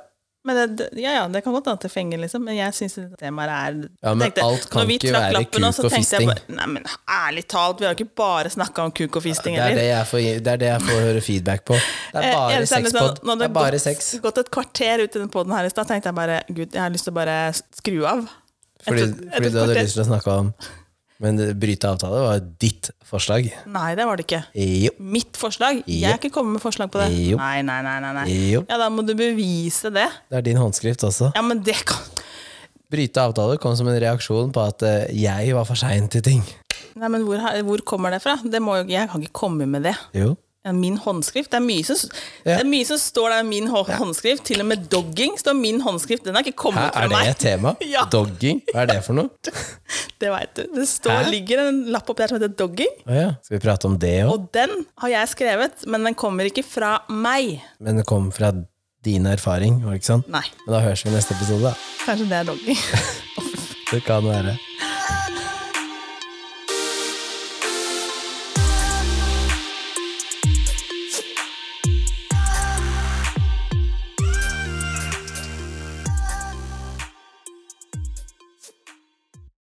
Speaker 2: Men det, det- ja, ja, det kan godt hende det fenger, liksom, men jeg syns temaet er
Speaker 1: Ja, men
Speaker 2: tenkte-
Speaker 1: alt kan
Speaker 2: når vi
Speaker 1: ikke
Speaker 2: trakk
Speaker 1: være
Speaker 2: lappen nå, så
Speaker 1: kuk og
Speaker 2: tenkte jeg
Speaker 1: fisting.
Speaker 2: bare, Nei, men ærlig talt, vi har jo ikke bare snakka om kuk og fisting
Speaker 1: Det er det,
Speaker 2: heller.
Speaker 1: jeg får, det er det jeg får høre feedback på. Det er
Speaker 2: Eh,
Speaker 1: bare
Speaker 2: eneste er liksom,
Speaker 1: sexpod.
Speaker 2: når
Speaker 1: Det er bare
Speaker 2: gått,
Speaker 1: sex.
Speaker 2: gått et kvarter ut i den poden her i stad, tenkte jeg bare Gud, jeg har lyst til å bare skru av.
Speaker 1: Fordi,
Speaker 2: et- et
Speaker 1: fordi du hadde
Speaker 2: kvarter.
Speaker 1: lyst til å snakke om Men det- bryte avtale var ditt forslag.
Speaker 2: Nei, det var det ikke.
Speaker 1: Jo.
Speaker 2: Mitt forslag? Jeg
Speaker 1: Jo.
Speaker 2: har ikke kommet med forslag på det.
Speaker 1: Jo.
Speaker 2: Nei, nei, nei, nei, nei.
Speaker 1: Jo.
Speaker 2: Ja, da må du bevise det.
Speaker 1: Det er din håndskrift også.
Speaker 2: Ja, men det kan
Speaker 1: Bryte avtale kom som en reaksjon på at eh, jeg var for sein til ting.
Speaker 2: Nei, men hvor, har- hvor kommer det fra? Det må jo, jeg kan ikke komme med det.
Speaker 1: Jo.
Speaker 2: Ja, Min håndskrift? Det er mye som,
Speaker 1: Ja.
Speaker 2: det er mye som står der i min hå- håndskrift. Til og med dogging står min håndskrift. Den har
Speaker 1: Hæ,
Speaker 2: ikke kommet fra
Speaker 1: er det
Speaker 2: meg.
Speaker 1: et tema?
Speaker 2: Ja.
Speaker 1: Dogging? Hva er det for noe?
Speaker 2: Det vet du. Det står,
Speaker 1: Hæ?
Speaker 2: ligger en lapp opp der som heter dogging,
Speaker 1: Å ja. Skal vi prate om det òg?
Speaker 2: og den har jeg skrevet, men den kommer ikke fra meg.
Speaker 1: Men det kom fra din erfaring, var det ikke sånn?
Speaker 2: Nei,
Speaker 1: Men da høres vi i neste episode, da.
Speaker 2: kanskje det er dogging.
Speaker 1: Det kan være.